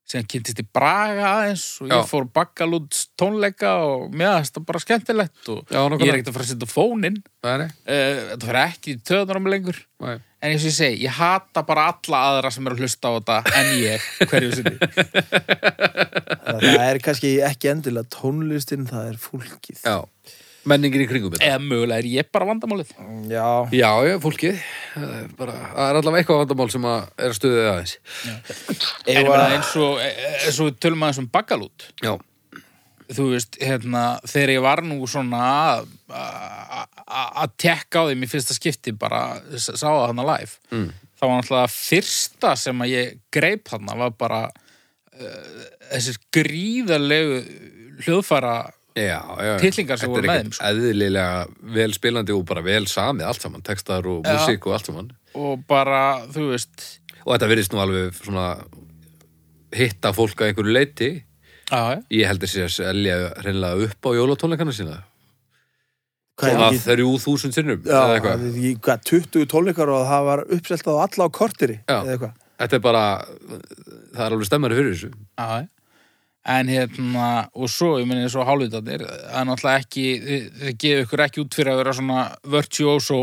Speaker 4: síðan kynntist ég braga aðeins og ég
Speaker 2: Já.
Speaker 4: fór bakka lút tónleika og mér það bara skemmtilegt og
Speaker 2: Já, nákvæmlega.
Speaker 4: ég er ekkert að fara að setja fóninn,
Speaker 2: Nei, nei,
Speaker 4: uh, þetta fyrir ekki í töðunar á mig lengur,
Speaker 2: nei.
Speaker 4: en eins og ég segi, ég hata bara alla aðra sem eru að hlusta á þetta en ég, hverju sinni.
Speaker 3: Þannig að Það er kannski ekki endilega tónlistin, það er fólkið.
Speaker 2: Já, menningin í kringum þetta
Speaker 4: Eða mögulega er ég bara vandamálið.
Speaker 3: Já.
Speaker 2: Já, já, fólkið það er bara, það er allavega eitthvað vandamál sem að er að stuðið aðeins
Speaker 4: En ég
Speaker 3: Ef að-
Speaker 4: meina, eins og, eins og við tölum aðeins um bakka lút,
Speaker 2: Já,
Speaker 4: þú veist, hérna, þegar ég var nú svona að- að- að að tekka á þeim í fyrsta skipti bara s- sá það hana live mm. þá var náttúrulega fyrsta sem að ég greip hana var bara uh, þessir gríðarlegu hljóðfæra
Speaker 2: já, já
Speaker 4: Titlingar
Speaker 2: Þetta
Speaker 4: sem voru
Speaker 2: er
Speaker 4: með
Speaker 2: ekkert
Speaker 4: þeim, sko.
Speaker 2: Eðlilega vel spilandi og bara vel samið allt saman, textar og
Speaker 4: Já.
Speaker 2: músík og allt saman
Speaker 4: og bara, þú veist
Speaker 2: Og þetta virðist nú alveg svona hitta fólk að einhverju leiti
Speaker 4: já,
Speaker 2: Ég heldur sér að selja hreinlega upp á jólatónleikana sína
Speaker 3: Hvað er
Speaker 2: Svona
Speaker 3: ekki?
Speaker 2: 3000 sinnum
Speaker 3: Já,
Speaker 2: eða
Speaker 3: það
Speaker 2: eitthvað.
Speaker 3: er ekki- hvað, 20 tónleikar og það var uppselt á alla á korteri
Speaker 2: Já.
Speaker 3: eða eitthvað.
Speaker 2: Þetta er bara það er alveg stemmari fyrir þessu
Speaker 4: já en hérna, og svo, ég meni eins og hálfvitarnir, það er náttúrulega ekki þið, þið gefið ykkur ekki út fyrir að vera svona virtuoso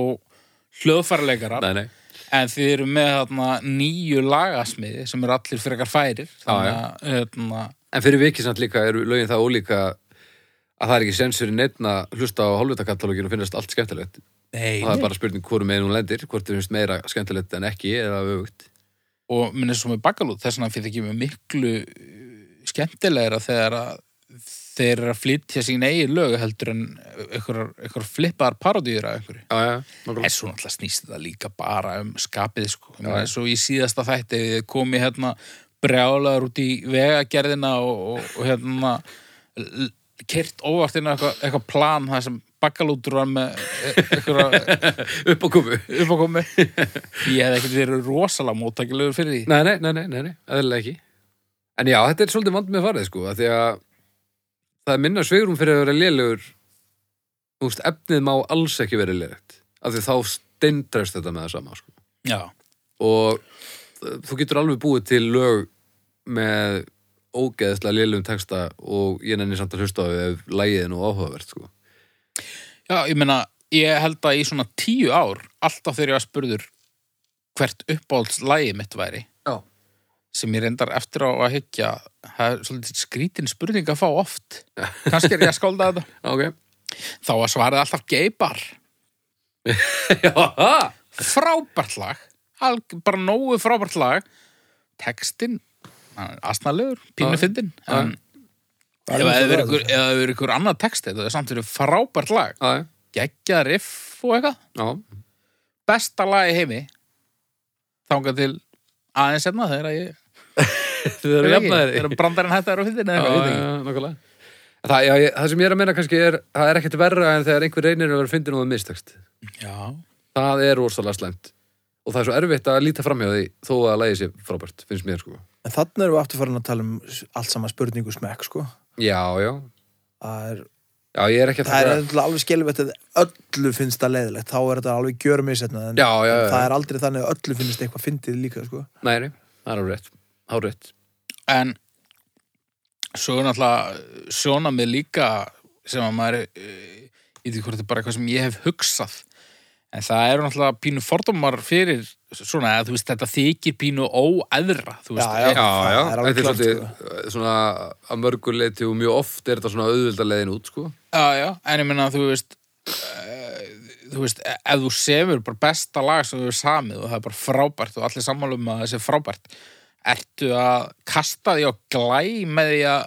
Speaker 4: hljóðfæraleikarar
Speaker 2: Nei, nei.
Speaker 4: en þið eru með þarna, nýju lagasmiði sem eru allir frekar færir þannig að hérna,
Speaker 2: En fyrir vikið samt líka eru lögin það ólíka að það er ekki sens fyrir neitt að hlusta á hálfutakatalógin og finnast allt skemmtilegt.
Speaker 4: nei,
Speaker 2: Og það er bara spurning hvorum meginn hún lendir, hvort þið finnst meira skemmtilegt en ekki eða auðvögt.
Speaker 4: og minn er svo með bakalút þess vegna fyrir ekki með miklu uh, skemmtilegra þegar að þeir eru að flytja sín eigin lög heldur en einhverjar einhver flippaðar parodýra einhverju.
Speaker 2: Já, já, nokkulega.
Speaker 4: En svo náttúrulega snýst þetta líka bara um skapið sko. Já, en svo í síðasta þætti ef þið komið hérna brjálaður út í vegagerðina og, og, og hérna kert óvart inn á eitthvað eitthva plan það sem bakalútur var með e-, eitthvað
Speaker 2: Upp á kubu.
Speaker 4: uppákomi ég hef ekkert verið rosalega móttækilegur fyrir því
Speaker 2: Nei, nei, nei, nei, nei, nei, eðlilega ekki. En já, þetta er svolítið vand með farið, sko, að því að það er minna sveigrum fyrir að vera lélegur, þú veist, efnið má alls ekki vera lélegt, af því þá steindræst þetta með það sama, sko.
Speaker 4: Já,
Speaker 2: Og eh, þú getur alveg búið til lög með ógeðslega lélum texta og ég nenni samt að hlusta á þau ef lægið er nú áhugavert, sko.
Speaker 4: Já, ég meina, ég held að í svona tíu ár, alltaf þegar ég var spurður hvert uppáhaldslægi mitt væri,
Speaker 2: Já.
Speaker 4: sem ég reyndar eftir á að hyggja, það er svolítið skrítin spurning að fá oft. Kannski er ég að skálda þetta.
Speaker 2: Ok.
Speaker 4: Þá var svarið alltaf geibar.
Speaker 2: Já, ha!
Speaker 4: Frábært lag, alg, bara nógu frábært lag. Textin, asnalegur, pínu
Speaker 2: Já.
Speaker 4: fyndin. En ef það hefur verið ykkur- ef það hefur verið ykkur annað texti, það er samt verið frábært lag.
Speaker 2: Já, já,
Speaker 4: Geggjað riff og eitthvað.
Speaker 2: já,
Speaker 4: besta lag í heimi þangað til aðeins hérna þegar að ég
Speaker 2: þið eru jafnaðir.
Speaker 4: þegar brandarinn hættar á fyndin
Speaker 2: Já, já,
Speaker 4: eða
Speaker 2: já, nákvæmlega. En Það, já, ég, það sem ég er að meina kannski er, það er ekkert verra en þegar einhver reynir að vera fyndin og það mistakst.
Speaker 4: eitthvað
Speaker 2: Það er rosalega slæmt. Og það er svo erfitt að líta framhjá því þó að lægi sér frábært, finnst mér sko.
Speaker 3: En þannig erum við aftur farin að tala um s- allt saman spurningu smekk, sko.
Speaker 2: Já, já.
Speaker 3: Það er,
Speaker 2: Já, ég er ekki að
Speaker 3: það er
Speaker 2: taka-
Speaker 3: alveg alveg skelvett að öllu finnst það leiðilegt. Þá er þetta alveg gjör misetna. En,
Speaker 2: Já, já, já.
Speaker 3: en það er aldrei þannig að öllu finnst eitthvað fyndið líka, sko.
Speaker 2: Nei, nei, það er alveg rétt. Hárétt.
Speaker 4: en svo er náttúrulega sjóna mig líka sem að maður eh, ég veit ekki hvort þetta er bara eitthvað sem ég hef hugsað en það eru náttúrulega pínu fordómar fyrir svona að þú veist þetta þykir pínu óæðra þú veist
Speaker 3: Já, það
Speaker 2: já.
Speaker 3: er alveg
Speaker 2: Þetta
Speaker 3: klárt,
Speaker 2: er
Speaker 3: sko.
Speaker 2: svolítið eh, svona að mörguleiti og mjög oft er þetta svona auðvöldalegin út sko.
Speaker 4: Já, já, en ég meina að þú veist uh, þú veist, e- ef þú semur bara besta lag sem þú hefur samið og það er bara frábært og allir sammálum að það sé frábært ertu að kasta því á glæ með því að,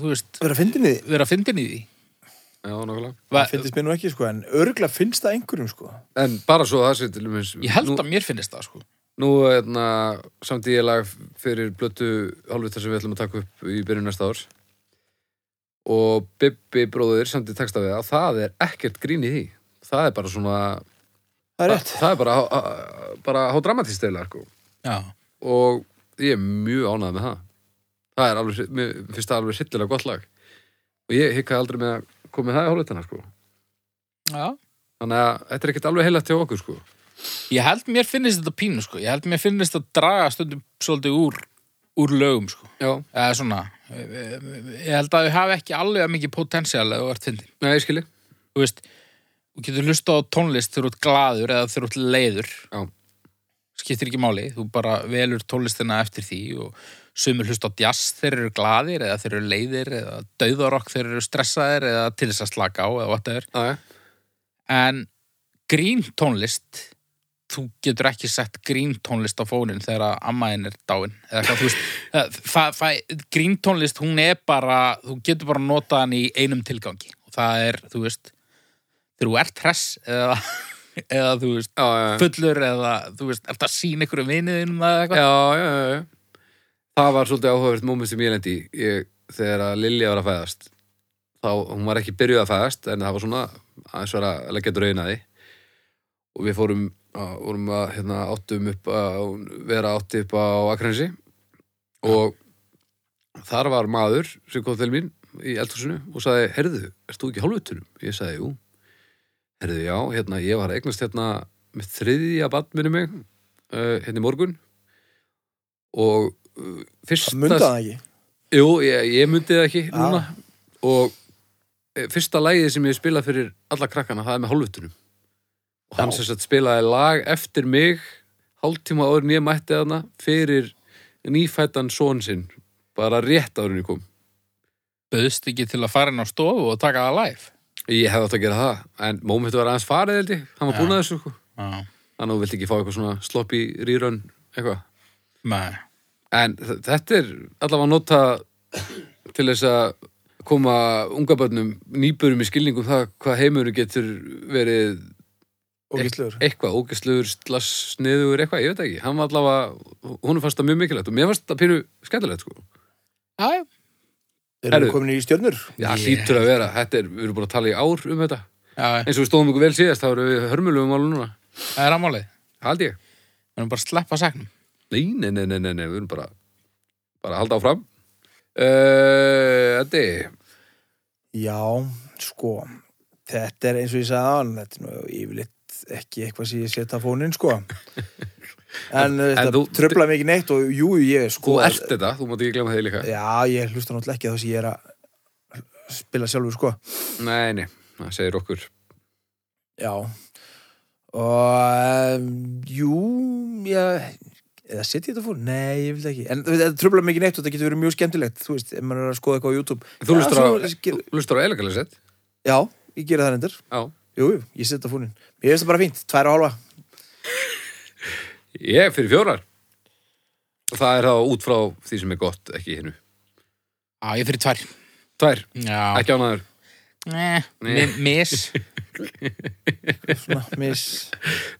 Speaker 4: þú veist
Speaker 3: Verða fyndin í því?
Speaker 4: vera að fyndin í því
Speaker 2: Já, nákvæmlega.
Speaker 4: Va,
Speaker 3: Það fyndist mér nú ekki, sko, en örgla finnst það einhverjum, sko.
Speaker 2: En bara svo það sér til umins.
Speaker 4: Ég held að mér finnist það, sko
Speaker 2: Nú hérna, samt ég lag fyrir blötu hálfvitar sem við ætlum að taka upp í byrjun næsta árs og Bibbi bróður samt ég texta við að það er ekkert grín í því það er bara svona
Speaker 3: Það er rétt.
Speaker 2: það er bara, há- bara há dramatist eða sko.
Speaker 4: Já,
Speaker 2: og ég er mjög ánægð með það það er alveg, mér finnst það alveg hryllilega gott lag og ég hikkaði aldrei með að koma með það í hálfvitarna sko.
Speaker 4: já
Speaker 2: þannig að þetta er ekkert alveg heilagt hjá okkur sko.
Speaker 4: Ég held mér finnist þetta pínu, sko Ég held mér finnist að draga stundum svolítið úr, úr lögum, sko
Speaker 2: já,
Speaker 4: eða svona, eh, eh, ég held að þau hafi ekki alveg að mikið potensial eða þú ert fyndin
Speaker 2: Nei, ég skili
Speaker 4: þú veist, þú getur hlusta á tónlist þegar þú ert glaður eða þegar þú ert leiður
Speaker 2: já,
Speaker 4: skiptir ekki máli, þú bara velur tónlistina eftir því og sumir hlusta á jazz þeir eru glaðir eða þeir eru leiðir eða dauðarokk þeir eru stressaðir eða til þess að slaka á eða whatever
Speaker 2: já, já.
Speaker 4: en grín tónlist þú getur ekki sett grín tónlist á fónin þegar að ammaðin er dáin eða hvað þú veist það, það, það, grín tónlist hún er bara þú getur bara notað hann í einum tilgangi og það er, þú veist þegar þú ert hress eða, eða þú veist
Speaker 2: já, já, já.
Speaker 4: fullur eða þú veist, ert að sína ykkur um viniðinum eða eitthvað
Speaker 2: já, já, já, já. Það var svolítið áhugavert moment sem ég lendi í ég, þegar að Lilja var að fæðast þá, hún var ekki byrjuð að fæðast en það var svona aðeins var að leggja draun að því og við fórum að, vorum að hérna, áttum upp að vera átti upp á Akrensi og þar var maður sem kom til mín í eldhúsinu og sagði, herðu, ert þú ekki hálfutunum? Ég sagði, jú herðu, já, hérna, ég var að eignast hérna með þriðja badminu mig uh, hérna í morgun og uh, fyrsta
Speaker 3: Það munda það ekki.
Speaker 2: Jú, ég, ég myndi það ekki
Speaker 3: Já.
Speaker 2: núna eh, og e, fyrsta lagið sem ég hef spilað fyrir alla krakkana, það er með hálfutunum hann sem sagt spilaði lag eftir mig hálftíma áður en ég mætti hana fyrir nýfættan són sinn bara rétt áður en ég kom
Speaker 4: Böðst ekki til að fara inn á stofu og taka það live
Speaker 2: ég hefði átt að gera það en mómentu var aðeins farið held ég hann var búin að þessu sko.
Speaker 4: Já,
Speaker 2: þannig að þú vilt ekki fá eitthvað svona sloppy rerun eitthvað
Speaker 4: nei
Speaker 2: en þ- þetta er allavega nota til þess að koma unga börnum nýbörum í skilningum það hvað heimurinn getur verið e-,
Speaker 3: og gíslegur
Speaker 2: eitthvað, ógæstluður, slass, sniður eitthvað, ég veit ekki, hann var allavega hún fannst það mjög mikilvægt og mér fannst það pínu skemmtilegt sko,
Speaker 4: Já, já.
Speaker 3: erum
Speaker 2: Herru.
Speaker 3: við komin í stjörnur
Speaker 2: já,
Speaker 4: Ég-
Speaker 2: hlýtur að vera þetta er, við erum búin að tala í ár um þetta
Speaker 4: já, já.
Speaker 2: eins og við stóðum ykkur vel síðast, þá erum við hörmulegum álu núna,
Speaker 4: það er aðmálið
Speaker 2: haldi ég
Speaker 4: Við erum bara að sleppa saknum
Speaker 2: nei, nei, nei, nei, nei, nei, við erum bara bara að halda áfram uh, Eddi,
Speaker 3: já, sko þetta er eins og ég sagði aðan þetta er nú yfirleitt ekki eitthvað sem ég setja á fónin sko en uh, þetta
Speaker 2: þú-
Speaker 3: tröflaði mig ekki neitt og jú, ég
Speaker 2: þú
Speaker 3: sko
Speaker 2: ert þetta, þú mátt ekki glemma þeir líka
Speaker 3: já, ég hlusta náttúrulega ekki á það sem ég er að spila sjálfur sko
Speaker 2: nei, nei, það segir okkur
Speaker 3: Já og um, jú ég, eða setja ég þetta fór? Nei, ég vil það ekki en þú veist, þetta tröflar mikið neitt og þetta getur verið mjög skemmtilegt þú veist, ef maður er að skoða eitthvað á YouTube
Speaker 2: þú
Speaker 3: Já,
Speaker 2: lustar á,
Speaker 3: svona-
Speaker 2: þú lustar á elegalesett
Speaker 3: Já, ég gera það endur
Speaker 2: já,
Speaker 3: Jú, jú, ég setja fónin Ég veist það bara fínt, tvær og halva
Speaker 2: ég fyrir fjórar og það er þá út frá því sem er gott, ekki hinnu
Speaker 4: Já, ég fyrir tvær
Speaker 2: Tvær,
Speaker 4: Já,
Speaker 2: ekki ánaður
Speaker 4: Nei, mi- mis
Speaker 3: Svona, mis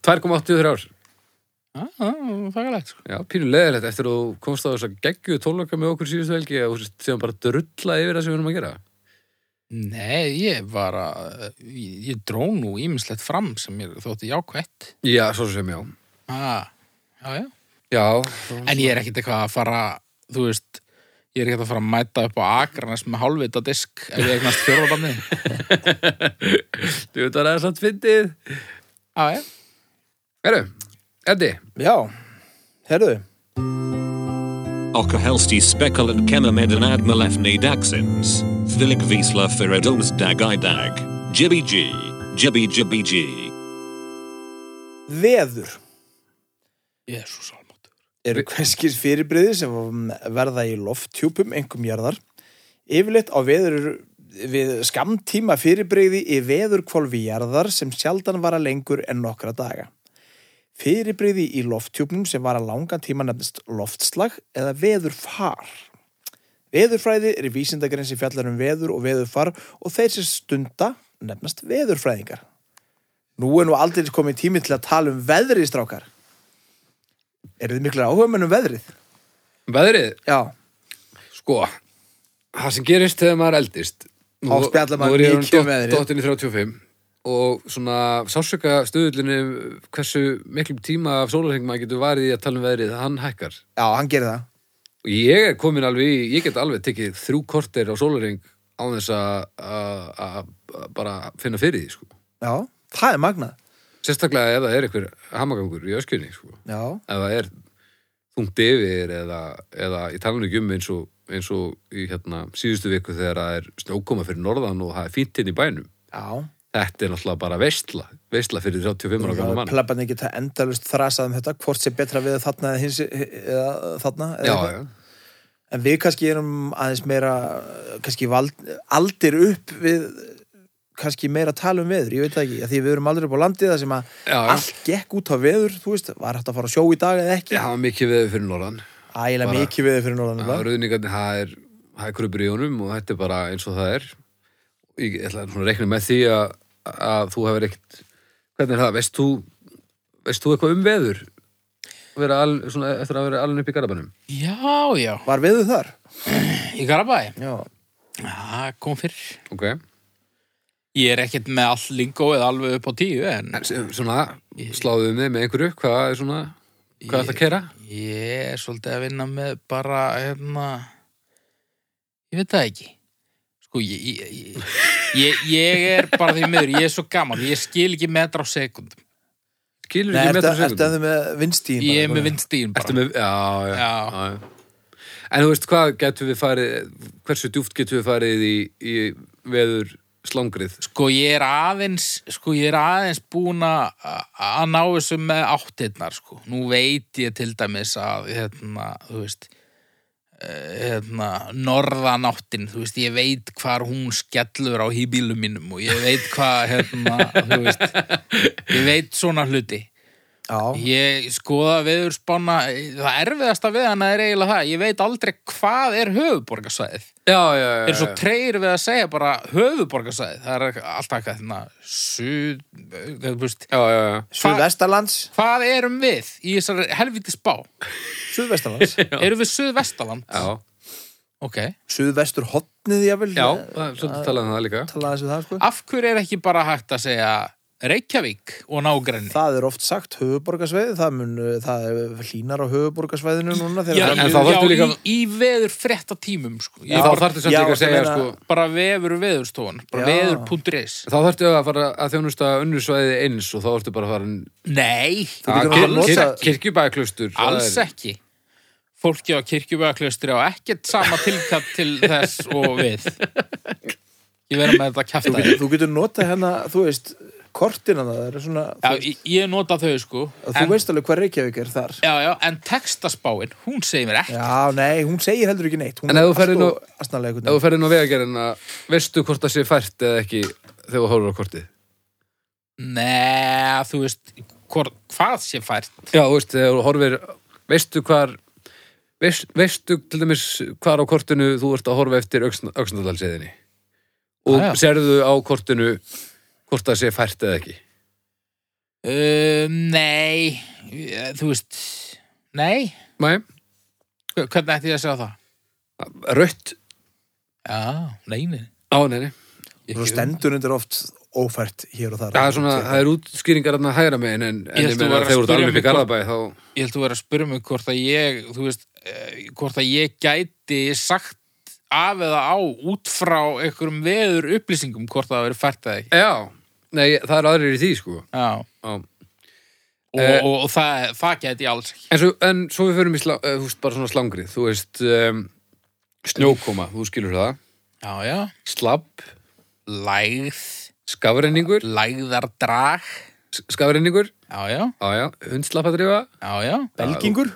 Speaker 2: 2,83 ár
Speaker 4: Já, já, þakkalegt sko.
Speaker 2: Já, pínu leðilegt eftir að þú komst á þess að geggju tónleika með okkur síðustu helgi og þú sért síðan bara drulla yfir það sem við erum að gera
Speaker 4: Nei, ég var að ég, ég dró nú ímislegt fram sem mér þótti jákvætt
Speaker 2: Já, svo sem já
Speaker 4: ah, Já, já
Speaker 2: Já,
Speaker 4: En ég er ekkert eitthvað að fara, þú veist, ég er ekkert að fara að mæta upp á Akranes með hálfvita disk ef ég eignast fjórðabandi.
Speaker 2: þú veit að það er samt fyndið
Speaker 4: Já, já.
Speaker 2: Herru, Eddi,
Speaker 3: Já, herðu
Speaker 5: Okahelsti spekulant kemameden admalefni daxins. Thvilik visla feridoms dagai dag. Jibby g. Jibby jibby g.
Speaker 3: Veður
Speaker 4: Jésús almátt.
Speaker 3: eru hverskis fyrirbriði sem verða í lofttjúpum engum jarðar. Yfirleitt á veður við skamtíma fyrirbriði í veðurkvolfi jarðar sem sjaldan vara lengur en nokkra daga. Fyrirbriði í lofttjúpnum sem vara langan tíma nefnist loftslag eða veðurfar. Veðurfræði er vísindakarinn sem fjallar um veður og veðurfar og þeir sem stunda nefnast veðurfræðingar. Nú er nú aldrei komið tími til að tala um veðrið, strákar. Eru þið miklar áhuga um veðrið?
Speaker 2: veðrið,
Speaker 3: Já,
Speaker 2: sko það sem gerist þegar maður eldist nú,
Speaker 3: Þá spjallar maður
Speaker 2: nú er ég orðinn
Speaker 3: mikið um
Speaker 2: dott-
Speaker 3: veðrið.
Speaker 2: dottinn í 35 og svona sásöka stöðullinu hversu miklum tíma af sólarheng maður getur varið í að tala um veðrið, hann hækkar
Speaker 3: já, hann gerir það.
Speaker 2: og ég er komin alveg í, ég get alveg tekið þrjú korter á sólarheng á þess að- að að- að bara finna fyrir því sko.
Speaker 3: Já, það er magnað.
Speaker 2: sérstaklega ef það er einhver hamagangur í öskunni sko.
Speaker 3: Já,
Speaker 2: ef það er þungt yfir eða, eða ég tala nú ekki um eins og, eins og í hérna, síðustu viku þegar það er snjókoma fyrir norðan og það er fínt inn í bænum
Speaker 3: já.
Speaker 2: þetta er náttúrulega bara veistla veistla fyrir 35 ára
Speaker 3: Það
Speaker 2: gamla
Speaker 3: er
Speaker 2: mann
Speaker 3: plebbarnir geta endalust þrasað um þetta, hvort sé betra við þarna eða, hins, eða þarna. Eða
Speaker 2: já,
Speaker 3: eitthvað.
Speaker 2: já,
Speaker 3: En við kannski erum aðeins meira, kannski vald, aldir upp við kannski meira tala um veður, ég veit það ekki, af því við erum aldrei upp á landið það sem að
Speaker 2: Já, já.
Speaker 3: allt gekk út á veður, þú veist, var hægt að fara á sjó í dag eða ekki,
Speaker 2: já, mikið veður fyrir norðan
Speaker 3: ægilega
Speaker 2: bara-
Speaker 3: mikið veður fyrir norðan
Speaker 2: Já,
Speaker 3: nefnilega.
Speaker 2: rauðningarnir, það er, það er kröpur í honum og þetta er bara eins og það er. Ég ætla svona að reikna með því að, að þú hefur ekkert, hvernig er það, veist þú, veist þú eitthvað um veður? Að Vera al, svona, eftir að vera alveg upp í garabænum.
Speaker 4: Já, já.
Speaker 3: Var veður þar?
Speaker 4: Í Garabæi.
Speaker 3: Já,
Speaker 4: Já, kom fyrir.
Speaker 2: Ok,
Speaker 4: Ég er ekkert með all lingó eða alveg upp á tíu, en
Speaker 2: en s- svona, sláðu um þig með einhverju, hvað er svona, hvað er það að kera?
Speaker 4: ég er svolítið að vinna með bara, hérna, ég veit það ekki. Sko, ég, ég, ég, ég, ég er bara því miður, ég er svo gaman, ég skil ekki metra á sekundum.
Speaker 2: Skilur
Speaker 3: Nei,
Speaker 2: ekki
Speaker 3: ertu,
Speaker 2: metra
Speaker 3: ertu
Speaker 2: sekundum?
Speaker 3: að þau með vinstíðin?
Speaker 4: Ég er með vindstíðin bara.
Speaker 2: Ertu með, já, já,
Speaker 4: Já.
Speaker 2: já. já. En þú veist, hvað getur við farið, hversu djúft getur við farið í, í veður slangrið
Speaker 4: Sko ég er aðeins, sko ég er aðeins búin að að ná þessu með áttirnar, sko. Nú veit ég til dæmis að, hérna, þú veist, eh, hérna, norðanáttin, þú veist, ég veit hvar hún skellur á hýbílum mínum og ég veit hvað, hérna, þú veist, ég veit svona hluti.
Speaker 3: já,
Speaker 4: Ég skoða veðurspána, það erfiðasta við hana er eiginlega það, ég veit aldrei hvað er höfuborgarsvæðið
Speaker 2: Já, já, já,
Speaker 4: er svo treyr við að segja bara höfuborgarsæði, það er alltaf eitthvað þarna, suð, eh, þú veist
Speaker 2: já, já, já.
Speaker 3: Suðvestalands
Speaker 4: hvað erum við í þessari helviti spá?
Speaker 3: Suðvestalands
Speaker 4: Erum við suðvestaland?
Speaker 2: Já,
Speaker 4: Ok,
Speaker 3: Suðvestur hotnið jável
Speaker 2: já, það er svolítið talað um það líka
Speaker 3: talaði þessu það sko
Speaker 4: af hverju er ekki bara hægt að segja Reykjavík og nágrenni?
Speaker 3: Það er oft sagt höfuborgarsvæði, það, mun, uh, það er hlínar á höfuborgarsvæðinu núna
Speaker 4: Já,
Speaker 3: þegar
Speaker 2: en- en
Speaker 4: já,
Speaker 2: þá þarftu líka-
Speaker 4: í, í veður frétta tímum sko. Ég
Speaker 2: En
Speaker 4: bara,
Speaker 2: þá þarftu samt
Speaker 3: já,
Speaker 2: líka að segja,
Speaker 3: ég meina-
Speaker 2: sko
Speaker 4: bara vefur veðurstofan bara
Speaker 3: Já.
Speaker 4: veður.is
Speaker 2: Þá þarftu að fara að þjónusta önnur svæði eins og þá ertu bara að fara
Speaker 4: Nei,
Speaker 3: getur
Speaker 2: kir
Speaker 3: náttúrulega
Speaker 2: kir
Speaker 3: notað-
Speaker 2: kirkjubæklustur
Speaker 4: alls ekki Fólki á kirkjubæðaklaustri á ekkert sama tilkatt til þess og við Ég verður með þetta
Speaker 3: þú
Speaker 4: kjafta
Speaker 3: getur, þú getur notað hérna, þú veist, kortina það er svona,
Speaker 4: Já,
Speaker 3: þú,
Speaker 4: ég- ég nota þau sko
Speaker 3: veist, þú
Speaker 4: en,
Speaker 3: veist alveg hvað Reykjavík er þar.
Speaker 4: já, já, en textaspáin, hún segir mér ekki
Speaker 3: Já, nei, hún segir heldur ekki neitt. Hún
Speaker 2: En ef þú ferð inn á-
Speaker 3: Asnalega
Speaker 2: Ef þú
Speaker 3: einhvern veginn.
Speaker 2: ferðin á vegagerðina, veistu hvort það sé fært eða ekki þegar þú horfur á kortið?
Speaker 4: Nei, þú veist hvor, hvað sé fært
Speaker 2: Já, þú veist, þegar þú horfir, veistu hvar, veist, veistu til dæmis hvar á kortinu þú ert að horfa eftir auksnadalsiðinni og
Speaker 4: Ah, já.
Speaker 2: serðu á kortinu hvort það sé fært eða ekki.
Speaker 4: um, Nei, eh, þú veist Nei,
Speaker 2: Nei,
Speaker 4: Hver- hvernig ætti ég að segja það?
Speaker 2: rött,
Speaker 4: Já, nei, nei
Speaker 2: á neini.
Speaker 3: Þú stendur undir oft ófært hér og þar.
Speaker 2: Það er svona, það er útskýringar þarna hægra megin en, en
Speaker 4: Ég
Speaker 2: ég
Speaker 4: held þú
Speaker 2: meina
Speaker 4: værir
Speaker 2: þegar
Speaker 4: að
Speaker 2: þú ert
Speaker 4: spyrja
Speaker 2: alveg upp í
Speaker 4: mig
Speaker 2: Garðabæ þá,
Speaker 4: Ég held að vera að spyrja mig hvort að ég, þú veist, eh, hvort að ég gæti sagt af eða á út frá einhverjum veður upplýsingum hvort það veri fært eða ekki.
Speaker 2: já, nei, það er aðrir í því sko.
Speaker 4: Já,
Speaker 2: Já.
Speaker 4: og,
Speaker 2: Eh.
Speaker 4: og, og það, það gæti ég alls ekki.
Speaker 2: En svo, en svo við förum í slá, eh, þú veist, bara svona slangrið, þú veist, um, snjókoma, þú skilur það,
Speaker 4: Já, já.
Speaker 2: slapp,
Speaker 4: Lægð,
Speaker 2: skafrenningur,
Speaker 4: lægðardrag,
Speaker 2: skafrenningur,
Speaker 4: já, já,
Speaker 2: á já, hundslappadrifa,
Speaker 4: já, já.
Speaker 3: Belgingur?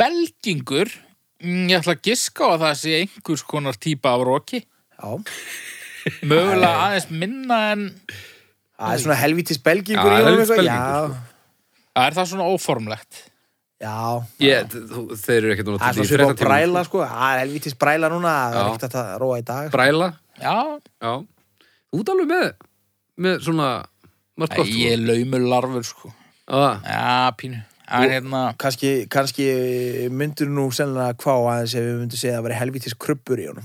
Speaker 4: Belgingur, mm, ég ætla að giska á að það sé einhvers konar típa af roki.
Speaker 3: Já.
Speaker 4: Mögulega aðeins minna en,
Speaker 3: Það er svona helvítis belgingur
Speaker 2: Já,
Speaker 3: í honum
Speaker 2: helvítis
Speaker 3: eitthvað.
Speaker 2: belgingur, sko.
Speaker 4: það er það svona óformlegt.
Speaker 3: Já, já.
Speaker 2: ég, þú- þeir eru ekkert
Speaker 3: Það er svona
Speaker 2: náttúrulega
Speaker 3: svipað á bræla, sko. Það er helvítis bræla núna. Það er
Speaker 2: Já.
Speaker 3: ekkert hægt að róa í dag.
Speaker 2: bræla,
Speaker 4: Já,
Speaker 2: já, út alveg með, með svona, margt gott,
Speaker 4: ég er laumularfur,
Speaker 2: sko,
Speaker 4: sko.
Speaker 2: á,
Speaker 4: Já, pínu. Það er hérna...
Speaker 3: Kanski, kanski myndur nú sennilega hvað aðeins ef við myndum segja að það væri helvítis krubbur í honum.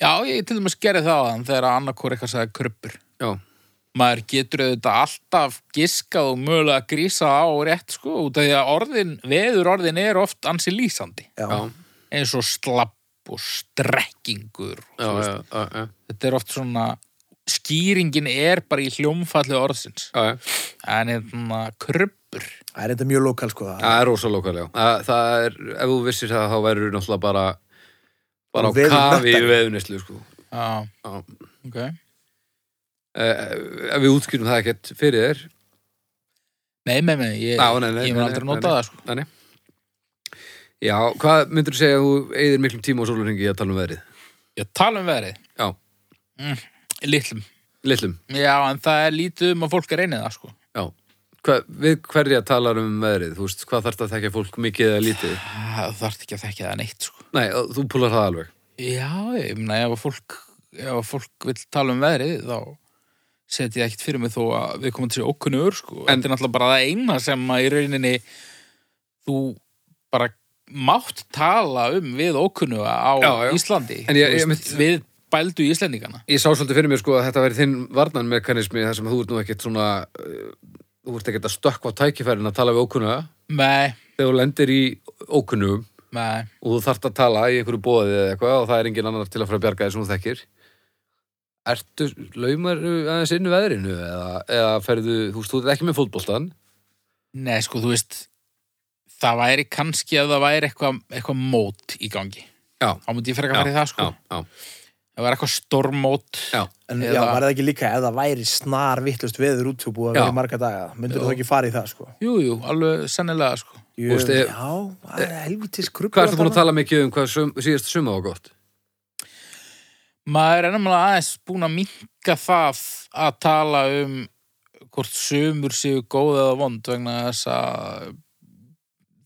Speaker 4: Já, ég til dæmis gerði það á þann þegar annarkor eitthvað sagði kruppur.
Speaker 2: já,
Speaker 4: Maður getur auðvitað alltaf giskað og mögulega grísa á rétt sko, út af því að orðin, veður orðin er oft ansi lýsandi.
Speaker 3: Já.
Speaker 2: já,
Speaker 4: Eins og slapp og strekkingur.
Speaker 2: já,
Speaker 4: þú
Speaker 2: já,
Speaker 4: veist.
Speaker 2: já, já,
Speaker 4: Þetta er oft svona, skýringin er bara í hljómfalli orðsins.
Speaker 2: já, já.
Speaker 4: En hérna, kruppur.
Speaker 3: Það er enda mjög lokal, sko. Það
Speaker 2: Það er rosa lokal, já. Það, það er, ef þú vissir það, þá verður náttúrulega bara, bara á
Speaker 3: Veður
Speaker 2: kafi í
Speaker 3: nöttari.
Speaker 2: veðunislu, sko.
Speaker 4: Já,
Speaker 2: Já.
Speaker 4: ok.
Speaker 2: Eh, ef við útskýrum það ekkert fyrir þér,
Speaker 4: Nei, nei, nei, ég,
Speaker 2: Já, nei, nei,
Speaker 4: ég
Speaker 2: nei,
Speaker 4: mun aldrei
Speaker 2: nei,
Speaker 4: nota
Speaker 2: nei.
Speaker 4: það sko.
Speaker 2: þannig. Já, hvað myndur þú segja að þú eigðir miklum tíma á sólurringi að tala um veðrið?
Speaker 4: Ég tala um veðrið.
Speaker 2: Já,
Speaker 4: Litlum.
Speaker 2: litlum,
Speaker 4: Já, en það er lítið um að fólk reynið það sko.
Speaker 2: já. Hva, við hverja talar um veðrið, þú veist, hvað þarft að þekka fólk mikið eða lítið?
Speaker 4: Það þarf Ah, ekki að þekka það neitt sko.
Speaker 2: Nei, þú púlar það alveg.
Speaker 4: Já, ég meina ef að fólk ef að fólk vill tala um veðrið þá set ég ekkert fyrir mig þó að við komum til sér okkunnugur sko. En þetta er náttúrulega bara það eina sem að í rauninni þú bara mátt tala um við okkunnuga á
Speaker 2: Já, já.
Speaker 4: Íslandi
Speaker 2: En ég-
Speaker 4: Þú
Speaker 2: ég
Speaker 4: veist, við bældu Íslendingana
Speaker 2: Ég sá svolítið fyrir mér sko að þetta verið þinn varnanmekanismi þar sem þú ert nú ekkert svona, uh, þú ert ekkert að stökkva á tækifærin að tala við ókunna
Speaker 4: Nei,
Speaker 2: þegar þú lendir í ókunnum
Speaker 4: nei,
Speaker 2: og þú þarft að tala í einhverju bóðið eða eitthvað og það er engin annar til að fara að bjarga þér sem þú þekkir. Ertu laumar aðeins inn í veðrinu eða, eða ferðu, þú veist, þú ert ekki með fótboltan?
Speaker 4: nei sko þú veist það væri kannski að það væri eitthvað eitthva mót í gangi
Speaker 2: Já.
Speaker 4: Þá myndi ég frekar að fara í það sko
Speaker 2: Já, já.
Speaker 4: það var eitthvað stormót
Speaker 2: Já,
Speaker 3: En
Speaker 2: eða-
Speaker 3: já, var það ekki líka ef það væri snar vittlust veður út og búið að
Speaker 2: Já.
Speaker 3: vera í marga daga myndur þú ekki fara í það sko
Speaker 4: jú, jú, alveg sennilega sko.
Speaker 3: Jú,
Speaker 2: veist, ef-
Speaker 3: Já, það er helvitis krukkur
Speaker 2: Hvað ertu búin að
Speaker 3: alltaf.
Speaker 2: tala mikið um hvað sum, síðast suma var gott?
Speaker 4: maður er nefnilega aðeins búin að minka það að tala um hvort sömur séu góð eða vond vegna þess að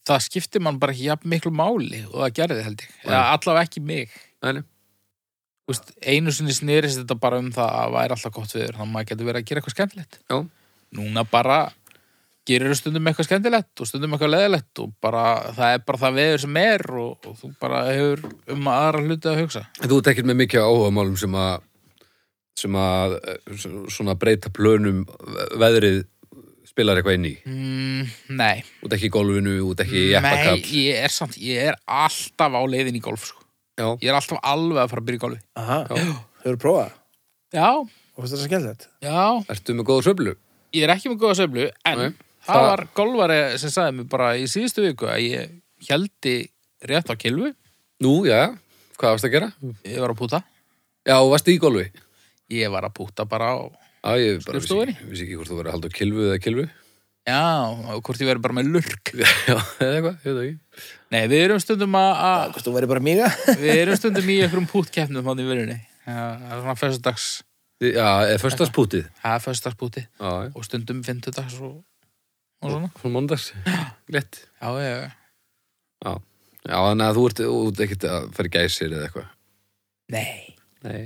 Speaker 4: það skiptir mann bara ekki jafn miklu máli og það gerði held ég, eða allavega ekki mig
Speaker 2: Nei, nei.
Speaker 4: Þú veist, einu sinni snerist þetta bara um það að væri alltaf gott viður, þannig að maður getur verið að gera eitthvað skemmtilegt
Speaker 2: Já.
Speaker 4: núna bara gerir stundum eitthvað skemmtilegt og stundum eitthvað leðilegt og bara, það er bara það veður sem er og, og þú bara hefur um aðra hluti að hugsa
Speaker 2: En Þú ert ekkert með mikið áhuga málum sem að sem að eh, s- svona breyta plönum ve- veðrið spilar eitthvað inn í
Speaker 4: mm, nei
Speaker 2: út ekki í golfinu, út ekki í
Speaker 4: Nei,
Speaker 2: jeppakall
Speaker 4: ég er samt, ég er alltaf á leiðin í golf sko.
Speaker 2: Já,
Speaker 4: Ég er alltaf alveg að fara að byrja í golfi
Speaker 3: Aha, þau eru prófað
Speaker 4: Já,
Speaker 3: og finnst þetta skemmtilegt
Speaker 4: já,
Speaker 2: ertu með góða söflu?
Speaker 4: ég er ekki með góða söflu En
Speaker 2: Nei,
Speaker 4: það
Speaker 2: það-
Speaker 4: var golfari sem sagði mér bara í síðustu viku að ég hældi rétt á kilfu
Speaker 2: Nú, já, hvað varst að gera?
Speaker 4: Ég var að púta
Speaker 2: Já, varst í golfi?
Speaker 4: Ég var að púta bara á
Speaker 2: Já, ég bara vissi
Speaker 4: Skrifstofunni?
Speaker 2: ekki, vissi ekki hvort þú verið að halda á kilvu eða kilvu
Speaker 4: Já, og hvort ég verið bara með lurk
Speaker 2: Já, eða eitthvað, ég veit það ekki
Speaker 4: Nei, við erum stundum að- að
Speaker 3: Hvort þú væri bara míga
Speaker 4: Við erum stundum í einhverjum pútkeppnum Þannig í verðinni Það er svona föstudags
Speaker 2: Þi- Já, eða föstaspútið
Speaker 4: Það er föstudagspúti
Speaker 2: Já, já,
Speaker 4: Og stundum fimmtudags og, og svona
Speaker 2: frá mondags Rétt
Speaker 4: Já, já, já
Speaker 2: Já, já þannig að þú ert út ekkert að fara í gæsir eða eitthvað
Speaker 4: Nei
Speaker 2: Nei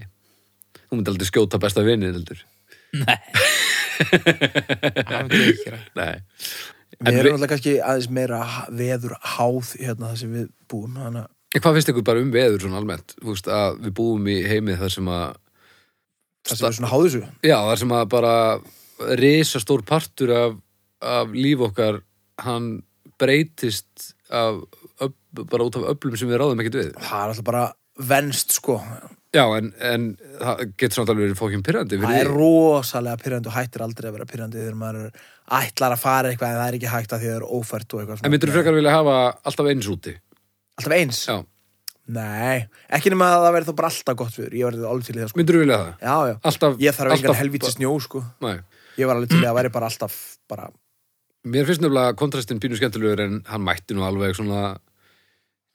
Speaker 2: Þú myndi aldrei skjóta besta vinið, heldur
Speaker 4: Það er ekki það
Speaker 2: Nei En
Speaker 3: Við
Speaker 2: við-
Speaker 3: erum alltaf kannski aðeins meira ha- veður háð hérna það sem við búum þannig að
Speaker 2: En Hvað finnst ykkur bara um veður svona almennt? Þú veist að við búum í heimið þar sem að
Speaker 3: það sem við svona háðu þessu
Speaker 2: Já, þar sem að bara risastór partur af, af líf okkar hann breytist af, öf, bara út af öflum sem við ráðum ekkert við
Speaker 3: Það er alltaf bara venst sko Það
Speaker 2: Já, en, en það getur samt alveg verið fókin pyrrandi
Speaker 3: er rosalega pyrrandi og hættir aldrei að vera pyrrandi þegar maður ætlar að fara eitthvað en það er ekki hægt að því að það er ófært og eitthvað svona.
Speaker 2: En myndirðu frekar vilja hafa alltaf eins úti?
Speaker 3: Alltaf eins?
Speaker 2: Já,
Speaker 3: Nei, ekki nema að það verði þá bara alltaf gott viður Ég var þetta alveg til í það sko
Speaker 2: myndirðu vilja það?
Speaker 3: Já, já,
Speaker 2: Alltaf,
Speaker 3: ég þarf engan
Speaker 2: alltaf-
Speaker 3: helvítið snjó sko
Speaker 2: Nei,
Speaker 3: Ég var alveg til í að væri bara alltaf bara
Speaker 2: mér finnst nefnilega kontrastin pínu skemmtilegur en hann mætti nú alveg svona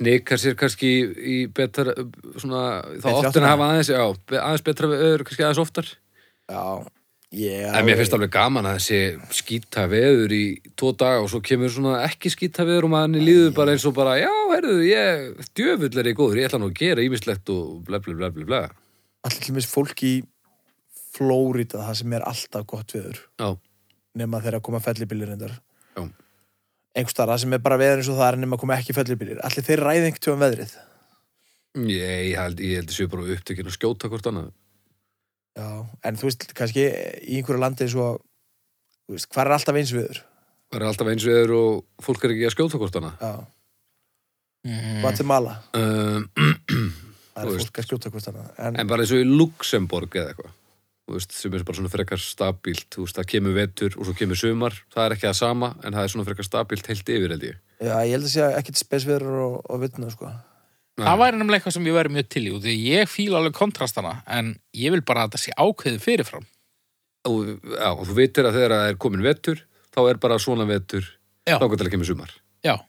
Speaker 2: neikar sér kannski í betra svona, þá
Speaker 3: Betri
Speaker 2: oftin að
Speaker 3: áttuna.
Speaker 2: hafa aðeins já, be- aðeins betra veður, kannski aðeins oftar
Speaker 3: Já, ég
Speaker 2: En mér finnst alveg gaman að þessi skýta veður í tvo daga og svo kemur svona ekki skýta veður og manni líður bara eins og bara, já, heyrðu, ég djöfull er ég góður, ég ætla nú að gera ímislegt og bla bla bla bla bla
Speaker 3: Alltaf til mér fólk í Flórida það sem er alltaf gott viður
Speaker 2: Já,
Speaker 3: nema þegar að koma fellibilir reyndar
Speaker 2: já,
Speaker 3: einhvers staðar, það sem er bara veður eins og það er nema að koma ekki fellibilir Allir þeir ræði einhvern tjóðan veðrið
Speaker 2: ég, ég held ég held þessu bara upptökin að skjóta hvort annað
Speaker 3: Já, en þú veist, kannski í einhverju landi svo, þú veist, hvað er alltaf eins viður?
Speaker 2: Það er alltaf eins veður og fólk er ekki að skjóta hvort annað
Speaker 3: Já, Mm. Guatemala
Speaker 2: um,
Speaker 3: það
Speaker 2: Þú
Speaker 3: er
Speaker 2: veist.
Speaker 3: fólk að skjóta hvort annað en,
Speaker 2: En bara eins og í Luxemborg eða eitthvað þú veist, sem er bara svona frekar stabílt þú veist, það kemur vetur og svo kemur sumar það er ekki það sama, en það er svona frekar stabílt heilt yfir, held ég
Speaker 3: Já, ég held að sé ekkert spesviður og, og vitna, sko.
Speaker 4: Mm. Það væri nefnilega eitthvað sem ég væri mjög til í og því ég fíla alveg kontrastana en ég vil bara að þetta sé ákveðið fyrirfram
Speaker 2: og, já, og þú vitir að þegar það er komin vetur þá er bara svona vetur
Speaker 4: Já.
Speaker 2: þá til að kemur sumar
Speaker 4: Já,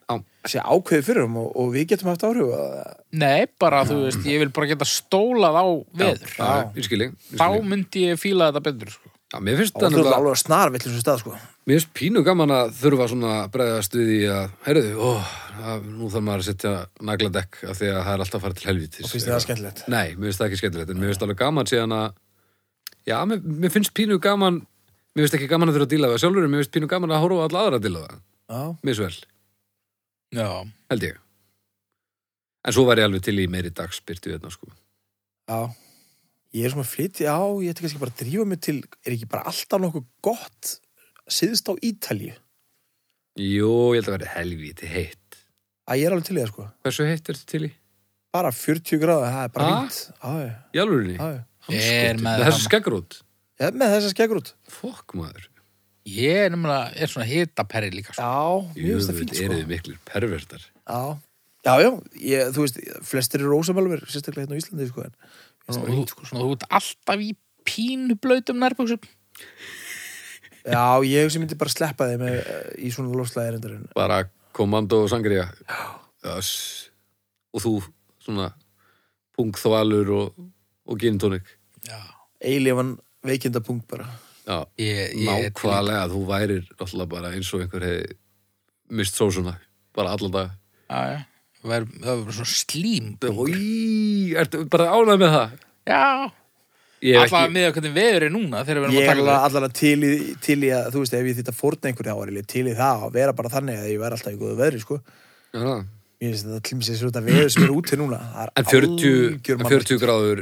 Speaker 3: Sé ákveðið fyrir um og, og við getum haft áhrif að
Speaker 4: nei, bara þú veist, ég vil bara geta stólað á veður
Speaker 2: já, ég skil ég, ég
Speaker 4: Þá
Speaker 2: skil ég.
Speaker 4: myndi ég fíla þetta betur sko.
Speaker 2: Já, mér finnst
Speaker 3: og þú
Speaker 2: það
Speaker 3: ert
Speaker 2: nefnilega-
Speaker 3: alveg snarvill þessu stað, sko.
Speaker 2: Mér finnst pínu gaman að þurfa svona að bregðast við í að, heyrðu, ó, að, nú þarf maður að setja nagladekk af því að það er alltaf að fara til helvítis.
Speaker 3: Og finnst þér það skemmtilegt?
Speaker 2: Nei, mér finnst það ekki skemmtilegt, en mér finnst alveg gaman síðan að, já, mér, mér finnst pínu gaman, mér finnst ekki gaman að þurfa að díla við það sjálfur, en mér finnst pínu gaman að horfa á alla aðra að díla við það,
Speaker 3: Já.
Speaker 2: misvel,
Speaker 4: Já,
Speaker 2: held ég. En svo var ég alveg til í meiri dagspyrtu hérna, sko.
Speaker 3: Já. Ég er svona flytt, já, ég ætti kannski bara að drífa mig til, er ekki bara alltaf nokkuð gott síðust á Ítalíu?
Speaker 2: Jú, ég held að verði helvíti heitt.
Speaker 3: Að ég er alveg til í það, sko.
Speaker 2: Hversu heitt er þetta til í?
Speaker 3: Bara 40 gráða, það er bara
Speaker 2: Ha?
Speaker 3: fínt. Já, já,
Speaker 2: Í alvörunni?
Speaker 3: já, já.
Speaker 4: Ég er
Speaker 2: Andskotinn.
Speaker 4: með
Speaker 2: Með þessu
Speaker 4: það.
Speaker 2: skeggrút?
Speaker 3: Já, með þess að skeggur út.
Speaker 2: Fokk, maður.
Speaker 4: ég er nefnilega, er svona hitaperri líka sko.
Speaker 3: Já, mér finnst það
Speaker 2: Jöfull,
Speaker 3: fínt,
Speaker 2: eru
Speaker 3: sko.
Speaker 2: þið miklir pervertar.
Speaker 3: Já, já, já, ég, þú veist, flestir eru ósamálver, sérstaklega hérna á Íslandi, sko, en
Speaker 4: Svona, þú, svona, þú ert alltaf í pínu blöytum nærbuksum
Speaker 3: Já, ég sem myndi bara sleppa þeim eh, í svona lofslæði erendarinn.
Speaker 2: bara komando og sangriða Öss. og þú svona pungþvalur og, og gintónik
Speaker 3: Eilífan veikindapunkt bara.
Speaker 2: já,
Speaker 4: Ég- ég er til í-
Speaker 2: nákvæmlega þú værir alltaf bara eins og einhver hefði mist sósuna, bara allan dag
Speaker 4: Já, já. Það verður- það verður svona slím
Speaker 2: Í, ertu bara ánægð með það
Speaker 4: Já,
Speaker 2: ég er
Speaker 4: alltaf
Speaker 2: ekki,
Speaker 4: með hvernig veður er núna þegar við erum
Speaker 3: Ég
Speaker 4: að
Speaker 3: er
Speaker 4: taka
Speaker 3: allavega allavega til, í- til í að, þú veist, ef ég þýtt að fórna einhverju árið, til í það að vera bara þannig að ég vera alltaf í góðu veðri, sko.
Speaker 2: Já, það.
Speaker 3: Ég finnst þetta klimsið svo þetta veður sem er úti núna. það er
Speaker 2: en 40,
Speaker 3: algjör
Speaker 2: en
Speaker 3: mannlegt.
Speaker 2: 40 gráður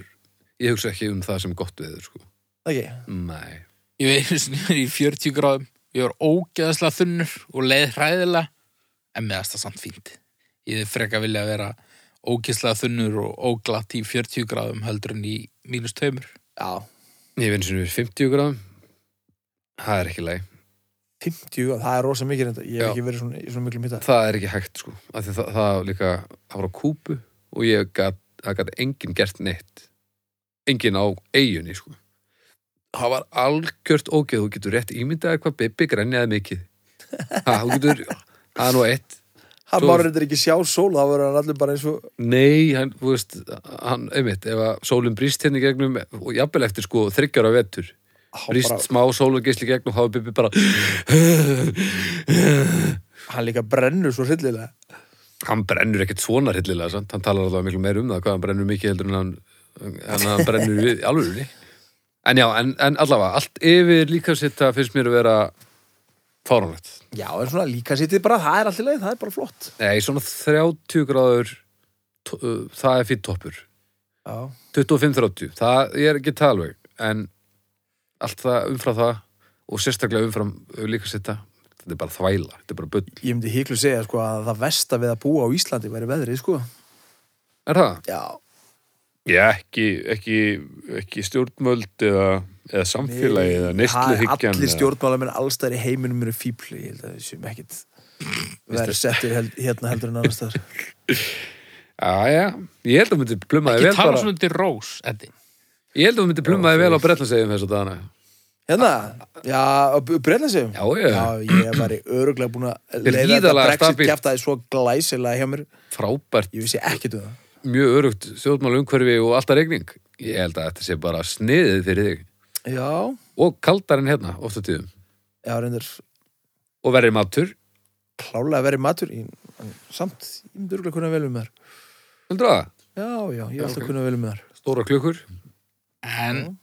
Speaker 2: ég hugsa ekki um það sem gott veður sko.
Speaker 3: Ekki?
Speaker 2: nei,
Speaker 4: Ég veit einu sinni verið í 40 gráðum Ég var ógeðaslega þunnur og leið hræðilega en meðast það samt fínt Ég hefði freka vilja að vera ógeðaslega þunnur og óglatt í 40 gráðum heldur en í mínus tveimur
Speaker 3: Já,
Speaker 2: ég vinn sem við 50 gráðum það er ekki leið
Speaker 3: 50, og það er rosa mikið reynda. Ég hef
Speaker 2: Já.
Speaker 3: ekki verið svona, í svona miklu mitta.
Speaker 2: það er ekki hægt sko af því það, það líka, það var á kúpu og ég gat, það gat enginn gert neitt enginn á eigunni sko það var algjört ógeð þú getur rétt ímyndaði hvað Bibi grænjaði mikið ha, þú getur, það er nú eitt
Speaker 3: Hann
Speaker 2: Svo-
Speaker 3: bara reyndir ekki sjá sól, þá verður hann allir bara eins og...
Speaker 2: nei, hann, þú veist hann, einmitt, ef að sólinn brýst hérna í gegnum og jafnvel eftir sko þryggjara vetur
Speaker 3: Hann
Speaker 2: brýst
Speaker 3: bara-
Speaker 2: smá sól og geisli í gegnum og þá er Bibi bara
Speaker 3: Hann líka brennur svo hryllilega.
Speaker 2: hann brennur ekkert svona hryllilega sant? hann talar alltaf miklu meir um það hvað hann brennur mikið heldur en hann, en hann brennur við í alvörunni en já, en, en allavega, allt yfir líka sitt það finnst mér að vera fáránlegt
Speaker 3: Já, en svona líka sýttið bara, það er allir leið, það er bara flott.
Speaker 2: nei, svona 30 gráður to- uh, það er fyrir toppur
Speaker 3: Já.
Speaker 2: 25-30, það ég er ekki talveg en allt það umfram það og sérstaklega umfram uh, líka sitta þetta er bara þvæla, þetta er bara bull
Speaker 3: Ég myndi híklu segja, sko, að það vesta við að búa á Íslandi væri veðrið, sko.
Speaker 2: er það?
Speaker 3: Já.
Speaker 2: Já, ekki, ekki, ekki stjórnmöld eða, eða samfélagi eða neysluhyggjan.
Speaker 3: Allir
Speaker 2: eða-
Speaker 3: stjórnmálamenn allstæðar í heiminum eru fíbli, ég held að við séum ekkit verið settir held, hérna heldur en annars þar.
Speaker 2: Já, já, ég held að þú myndi pluma þig
Speaker 4: Ekki
Speaker 2: vel
Speaker 4: tala
Speaker 2: bara.
Speaker 4: svona til rós, Eddi
Speaker 2: Ég held að þú myndi pluma þig vel á Bretlandseyjum þess að dana.
Speaker 3: Hérna, já, breyðlega
Speaker 2: Já,
Speaker 3: já.
Speaker 2: já.
Speaker 3: ég var í öruglega búin að
Speaker 2: Þeir
Speaker 3: leiða þetta
Speaker 2: gíðarlega
Speaker 3: brexit
Speaker 2: stabil-
Speaker 3: kjaftaði svo glæsilega hjá mér.
Speaker 2: Frábært,
Speaker 3: Ég vissi ekkit um það.
Speaker 2: mjög örugt stjórnmál umhverfi og alltaf regning. Ég held að þetta sé bara sniðið fyrir þig.
Speaker 3: Já,
Speaker 2: Og kaldar en hérna, ofta tíðum.
Speaker 3: já, reyndir
Speaker 2: Og verið matur,
Speaker 3: klálega verið matur, í, en samt, ég myndi öruglega kunna vel um þar.
Speaker 2: heldur það?
Speaker 3: Já, já, ég hef alltaf
Speaker 2: ok.
Speaker 3: kunna vel um þar.
Speaker 2: Stóra klukkur,
Speaker 4: En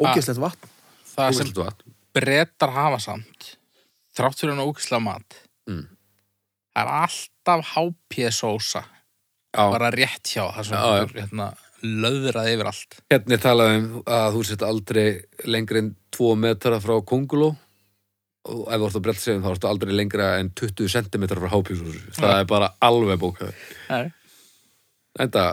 Speaker 3: Ógeðslegt vatn.
Speaker 4: það sem
Speaker 2: úrvilt vatn.
Speaker 4: brettar hafa samt þrátt fyrir hann ógislega mat
Speaker 2: Mm.
Speaker 4: það er alltaf hápjessósa
Speaker 2: Já,
Speaker 4: bara rétt hjá það sem
Speaker 2: Já, já.
Speaker 4: getur, hérna, löðrað yfir allt
Speaker 2: hérna er talað um að þú sett aldrei lengri en 2 metra frá Konguló og ef þú ert á Bretlandseyjum þá ertu aldrei lengra en 20 cm frá hápjúsúsu. Það er bara alveg bókað.
Speaker 4: Nei.
Speaker 2: enda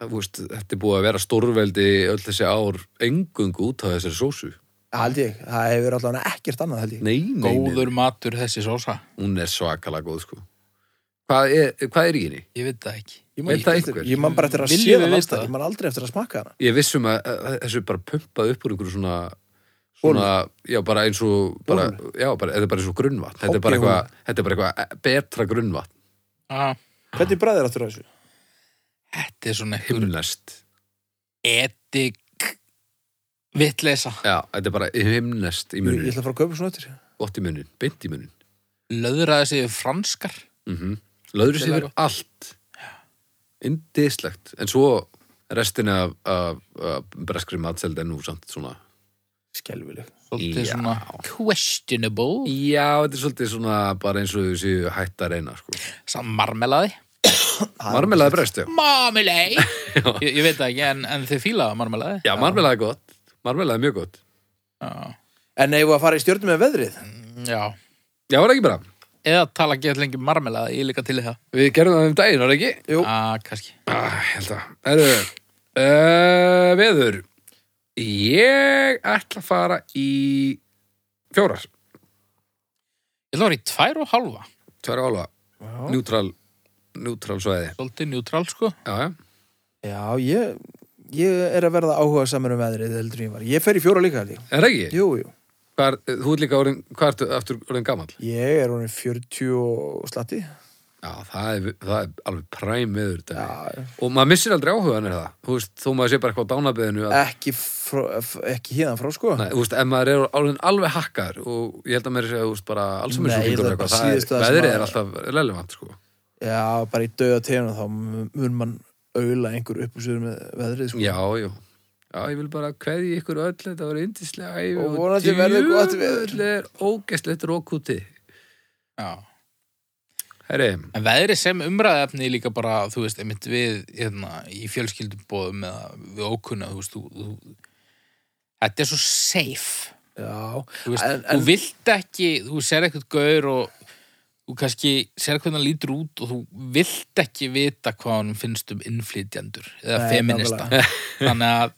Speaker 2: þú veist, þetta er búið að vera stórveldi öll þessi ár engungu út af þessari sósu
Speaker 3: Hald ég, það hefur allavega ekkert annað, held ég.
Speaker 2: nei, nei, nei,
Speaker 4: góður matur þessi sósa
Speaker 2: hún er svakalega góð sko. hvað, er, hvað er í henni?
Speaker 4: ég veit það ekki
Speaker 3: Ég
Speaker 2: Veit
Speaker 3: man,
Speaker 2: það
Speaker 3: ekki eftir,
Speaker 2: einhver?
Speaker 3: ég man bara eftir að
Speaker 4: Viljum
Speaker 3: sé
Speaker 4: við
Speaker 3: það
Speaker 4: vita
Speaker 3: alltaf,
Speaker 4: það?
Speaker 3: ég man aldrei eftir að smakka hana.
Speaker 2: ég vissum að, að þessu er bara pumpað upp úr einhverju svona, svona já, bara eins og bara, já, bara, þetta er bara eins og grunnvatn þetta er bara
Speaker 3: Hoppihúð.
Speaker 2: eitthvað, þetta er bara eitthvað e- betra grunnvatn
Speaker 4: ah,
Speaker 3: Hvernig bræðir áttur að þessu?
Speaker 4: þetta er svona einhver
Speaker 2: himnest,
Speaker 4: edik vitleisa
Speaker 2: já, þetta er bara himnest
Speaker 3: Ég,
Speaker 2: í
Speaker 3: ég
Speaker 2: munin,
Speaker 3: ætla að fara að kaupa svona eftir.
Speaker 2: gott í munin beint í munin
Speaker 4: löðrað þessi yfir franskar
Speaker 2: mm -hmm. löður sér fyrir allt indislegt en svo restin af, af, af breskri matseld er nú samt svona
Speaker 3: Skelvileg.
Speaker 4: svolítið
Speaker 2: Já.
Speaker 4: svona questionable
Speaker 2: já, þetta er svolítið svona bara eins og þau séu hætt að reyna sko.
Speaker 4: samt marmelaði
Speaker 2: marmelaði brest, já
Speaker 4: marmelaði ég, ég veit það ekki en, en þið fílaða marmelaði
Speaker 2: já, marmelaði er gott, marmelaði er mjög gott
Speaker 4: já.
Speaker 3: En eigum við að fara í stjórnum með veðrið?
Speaker 4: já
Speaker 2: já, var það ekki bara,
Speaker 4: eða tala ekki allir lengi marmelaði ég er líka til í það
Speaker 2: við gerum það um daginn, var það ekki
Speaker 3: Jú.
Speaker 4: ah, kannski
Speaker 2: ah, ég held að, erðu uh, veður ég ætla að fara í fjórar,
Speaker 4: Ég ætla að vera í tvær og halva,
Speaker 2: tverja álfa njútral, njútral svæði
Speaker 4: svolítið njútrál sko.
Speaker 2: já, já
Speaker 3: Já, ég, ég er að verða áhuga samar um veðrið heldur en ég var. Ég fer í fjóra líka held ég.
Speaker 2: Er það ekki?
Speaker 3: Jú, jú.
Speaker 2: Hvað er, þú ert líka orðin, hvað ertu aftur orðin gamall?
Speaker 3: Ég er honum 40 og slatti.
Speaker 2: Já, það er, það er alveg præm viður þetta.
Speaker 3: Já.
Speaker 2: Og maður missir aldrei áhugan er það. Þú veist, þó maður sé bara eitthvað á dánabeðinu. Að,
Speaker 3: Ekki, frá, f- ekki híðan frá sko.
Speaker 2: nei, þú veist, ef maður er orðin alveg hakkaður og ég held að maður sé að, þú veist, bara alls
Speaker 3: Nei,
Speaker 2: með svo
Speaker 3: það
Speaker 2: fíkur
Speaker 3: er bara
Speaker 2: eitthvað. Það
Speaker 3: síðasta
Speaker 2: er,
Speaker 3: sem
Speaker 2: veðrið
Speaker 3: að-
Speaker 2: er alltaf relevant, sko.
Speaker 3: Já, bara í döða teguna þá mun man auðla einhver upp og sögur með veðrið sko.
Speaker 2: Já, já. Já, ég vil bara kveði ykkur öll, þetta var yndislega æfi
Speaker 3: Og vonandi verður gott veður.
Speaker 2: er ógeslegt rókúti.
Speaker 4: Já.
Speaker 2: Herri,
Speaker 4: En veðri sem umræðefni er líka bara, þú veist, einmitt við hérna, í fjölskyldubóðum eða við ókunna, þú veist, þú, þú, þetta er svo safe.
Speaker 3: Já.
Speaker 4: Þú veist,
Speaker 3: En-
Speaker 4: þú
Speaker 3: en-
Speaker 4: vilt ekki, þú ser eitthvað gaur og þú kannski ser hvernig hann lítur út og þú vilt ekki vita hvað hann finnst um innflytjandur eða
Speaker 3: Nei,
Speaker 4: feminista. Þannig að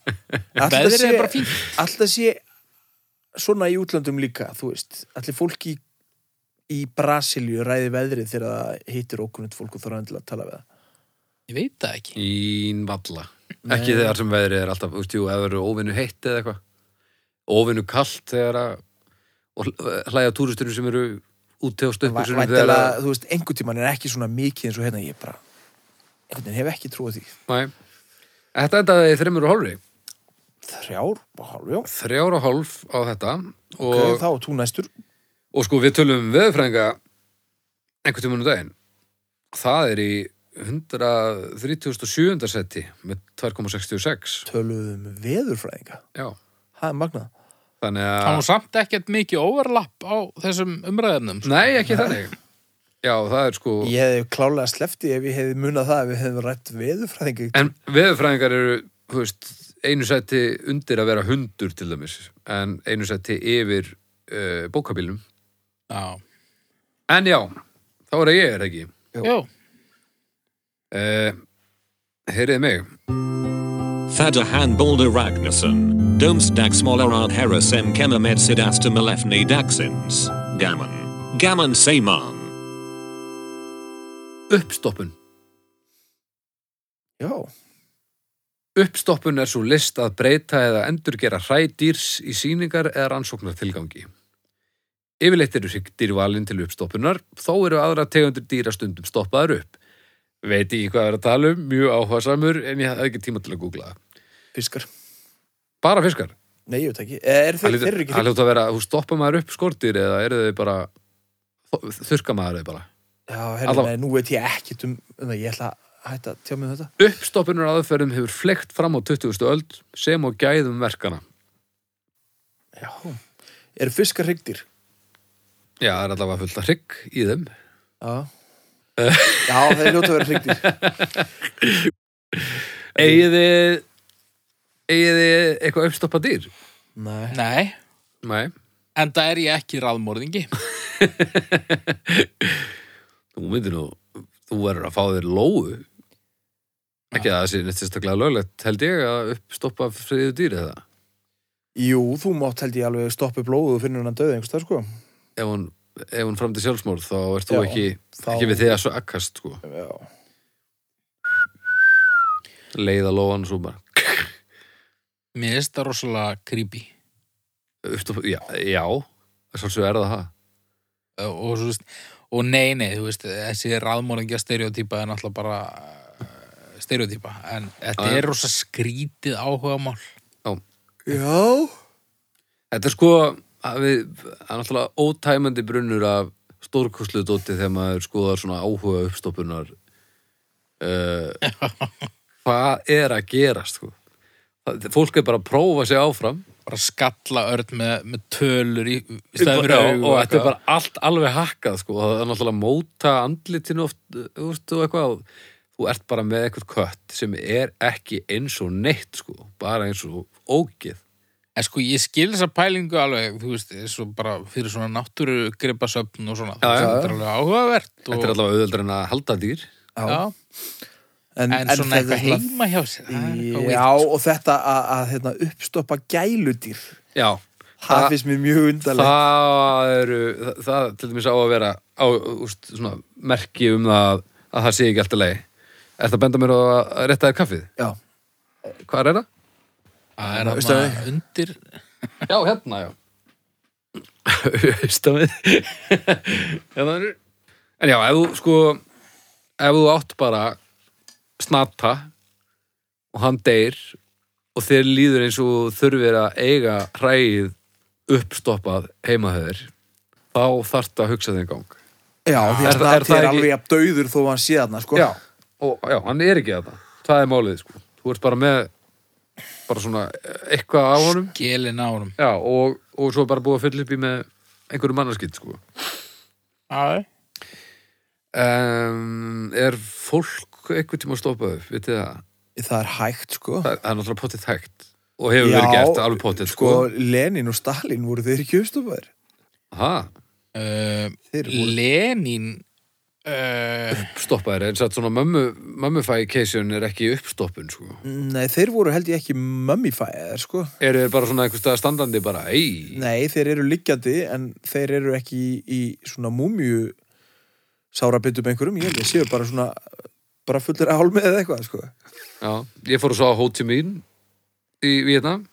Speaker 3: Ætli
Speaker 4: veðrið
Speaker 3: það
Speaker 4: er bara fínt.
Speaker 3: Alltaf sé svona í útlöndum líka, þú veist. Allir fólki í, í Brasilíu ræði veðrið þegar það hittir okkunnit fólk og þarf endilega að tala við það.
Speaker 4: Ég veit það ekki.
Speaker 2: ín valla. Ekki þegar sem veðrið er alltaf, þú veist, jú, ef það eru óvinnu heitt eða eitthvað. Óvinnu kalt þegar að og hl- eh, hlæja túristunum sem eru úti á stöppu sinni
Speaker 3: Væntalega, þú veist, einhvern tímann er ekki svona mikið eins og hérna ég bara einhvern veginn hef ekki trúið því.
Speaker 2: Næ, þetta endaði í þreymur og hálfri.
Speaker 3: Þrjár og hálf, já.
Speaker 2: Þrjár og hálf á þetta og,
Speaker 3: Og þá og tú næstur.
Speaker 2: og sko við tölum um veðurfræðinga einhvern tímann um daginn. Það er í 137. seti með 2,66.
Speaker 3: Töluðum um veðurfræðinga.
Speaker 2: Já,
Speaker 3: Það er magnað.
Speaker 2: þannig að...
Speaker 4: Það var samt ekkert mikið overlapp á þessum umræðefnum. sko.
Speaker 2: Nei, ekki þannig. Já, það er sko...
Speaker 3: Ég hefði klálega sleppti ef ég hefði munað það ef við hefðum rætt veðurfræðinga.
Speaker 2: En veðurfræðingar eru, þú veist, einu sæti undir að vera hundur til dæmis, en einu sæti yfir uh, bókabílum.
Speaker 4: Já.
Speaker 2: En já, þá er að ég er það ekki.
Speaker 4: Jú.
Speaker 2: Uh, heyrið mig.
Speaker 5: Thadahan Balder Ragnarsson, Domstag Smolarad Harasem Kemamed Sidasta Malefni Daxins, Gammon, Gammon Seyman.
Speaker 2: Uppstoppun.
Speaker 3: Já.
Speaker 2: Uppstoppun er svo list að breyta eða endurgera hrædýrs í sýningar eða rannsóknar tilgangi. Yfirleitt eru hryggdýr valin til uppstoppunar, þó eru aðra tegundir dýra stundum stoppaðar upp. Veit ekki hvað er að tala um, mjög áhugasamur, en ég hafði ekki tíma til að googla það.
Speaker 3: Fiskar.
Speaker 2: Bara fiskar.
Speaker 3: Nei, ég veit ekki. Eh, Er þeir, þeir
Speaker 2: Það
Speaker 3: eru
Speaker 2: hljóta-
Speaker 3: ekki
Speaker 2: það hljóta að vera, þú stoppa maður upp skortir eða eru þau bara, þurka maður þau bara.
Speaker 3: Já, herri,
Speaker 2: Allavega.
Speaker 3: nei, nú veit ég ekkert um, um það, ég ætla að hætta að tjá mig um þetta.
Speaker 2: Uppstoppunar aðferðum hefur flekt fram á 20. öld sem og gæðum verkana.
Speaker 3: Já. Eru fiskar hryggdýr?
Speaker 2: Já, það er allavega fullt af hrygg í þeim.
Speaker 3: Já.
Speaker 2: Eh.
Speaker 3: Já, þeir ljóta að vera hryggdýr.
Speaker 2: Eigið þið, eigið þið eitthvað uppstoppa dýr?
Speaker 3: Nei.
Speaker 4: Nei.
Speaker 2: Nei,
Speaker 4: En það er ég ekki ráðmorðingi.
Speaker 2: þú myndir nú, þú verður að fá þér lóu. Ekki að það sé neitt sérstaklega löglegt, held ég að uppstoppa friðu dýr eða
Speaker 3: Jú, þú mátt held ég alveg stoppa blóðu og finnur hann döðið einhvers þar, sko.
Speaker 2: ef hún, ef hún fram til sjálfsmórð þá ert þú
Speaker 3: Já,
Speaker 2: ekki,
Speaker 3: þá-
Speaker 2: ekki við þig að svo akkast sko.
Speaker 3: Já.
Speaker 2: Leiða lóan svo bara.
Speaker 4: Mér finnst það rosalega creepy.
Speaker 2: Uppstopp- já, já svolítið er það það
Speaker 4: og, svo veist, og nei, nei, þú veist þessi ráðmóringja stereotýpa er náttúrulega bara uh, stereotýpa en þetta
Speaker 2: Já, já.
Speaker 4: er rosa skrítið áhuga mál
Speaker 3: Já.
Speaker 2: Þetta er sko að við, það er náttúrulega ótæmandi brunnur af stórkoslu dóti þegar maður skoðar svona áhuga uppstoppunar uh, hvað er að gerast sko? Það- fólk er bara að prófa sig áfram
Speaker 4: bara skalla örn með, með tölur í í staðinn fyrir
Speaker 2: Já,
Speaker 4: augu
Speaker 2: og þetta er
Speaker 4: eitthvað.
Speaker 2: bara allt alveg hakkað sko. það er náttúrulega að móta andlitinu oft, uh, þú veist, og eitthvað þú ert bara með eitthvað kött sem er ekki eins og neitt sko. bara eins og ógeð
Speaker 4: en sko ég skil þessa pælingu alveg þú veist, svo bara fyrir svona náttúru gripasöfn og svona,
Speaker 2: Já, já.
Speaker 4: þetta er alveg áhugavert og,
Speaker 2: Þetta er allavega auðveldur en að halda dýr
Speaker 4: já,
Speaker 3: En,
Speaker 4: en, svona
Speaker 3: þetta er
Speaker 4: eitthvað heima hjá sér það er
Speaker 3: Já,
Speaker 4: eitthvað weird. sko.
Speaker 3: og þetta að, að hérna, uppstoppa gæludýr,
Speaker 2: Já,
Speaker 3: það
Speaker 2: Þa-
Speaker 3: finnst mér mjög undarlegt.
Speaker 2: það eru það, það til dæmis á að vera á, úst, svona, merki um það að það sé ekki alltaf leið Er það að benda mér á að rétta þér kaffið?
Speaker 3: Já.
Speaker 2: Hvað er það?
Speaker 4: Það er
Speaker 1: Veistu
Speaker 4: hann undir
Speaker 2: Já, hérna, já. Austamið. hérna er... En já, ef þú, sko, ef þú átt bara snata og hann deyr og þér líður eins og þú þurfir að eiga hræið uppstoppað heimahöður, þá þarft að hugsa þig en gang.
Speaker 3: Já, því
Speaker 2: Er
Speaker 3: að
Speaker 2: það- er
Speaker 3: Snati
Speaker 2: það
Speaker 3: er
Speaker 2: ekki-
Speaker 3: alveg að dauður þó að hann sé þarna, sko.
Speaker 2: Já, og já, hann er ekki þetta. Það er málið, sko. Þú ert bara með bara svona eh, eitthvað á honum
Speaker 4: gelin á honum.
Speaker 2: Já, og, og svo bara búið að fylla upp í með einhverju mannarskitt, sko.
Speaker 4: Já,
Speaker 2: Um, er fólk einhvern tíma að stoppa upp, vitið það?
Speaker 3: Það er hægt, sko.
Speaker 2: Það er, það er náttúrulega pottið hægt og hefur verið gert alveg pottið, sko.
Speaker 3: Lenin og Stalin voru þeir ekki uppstofaðir.
Speaker 2: Ha,
Speaker 4: já.
Speaker 3: Þeir voru...
Speaker 4: Lenin uh,
Speaker 2: uppstoppaðir, eins og svona mömmu, mömmufæi keisjun er ekki uppstoppun, sko.
Speaker 3: Nei, þeir voru held ég ekki mummifæðir, sko.
Speaker 2: Eru þeir bara svona einhvers staðar standandi bara, ei,
Speaker 3: Nei, þeir eru liggjandi en þeir eru ekki í, í svona múmiu sárabitum einhverjum. Ég held ég séu bara svona, bara fullir álmið eða eitthvað, sko.
Speaker 2: já, ég fór og sá Ho Chi Minh í Vietnam,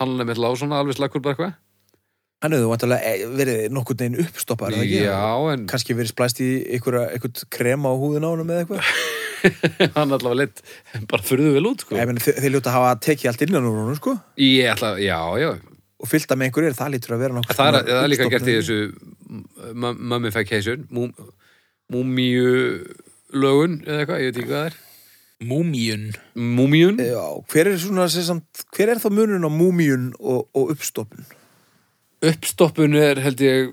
Speaker 2: hann er með lág svona alveg slakkur bara eitthvað.
Speaker 3: Hann hefur vantarlega eh, verið nokkurn veginn uppstoppaður, eða ekki?
Speaker 2: Já, en
Speaker 3: Kanski verið splæst í einhverja, einhvern krema á húðin á honum eða eitthvað?
Speaker 2: Sko. hann allavega leitt bara furðu vel út, sko.
Speaker 3: Ég meina, þe- þeir ljóta að hafa tekið allt innan úr honum, sko,
Speaker 2: Ég ætla, já, já,
Speaker 3: og fylta með einhverju, það lítur að vera nokkuð.
Speaker 2: Það er, það er líka gert í þessu mummification, múmíu lögun eða eitthvað, ég veit ekki hvað það er.
Speaker 4: Múmíun
Speaker 2: Múmíun?
Speaker 3: Já, hver er svona, sem samt, hver er þá munurinn á múmíun og, og uppstopun?
Speaker 2: Uppstoppun er held ég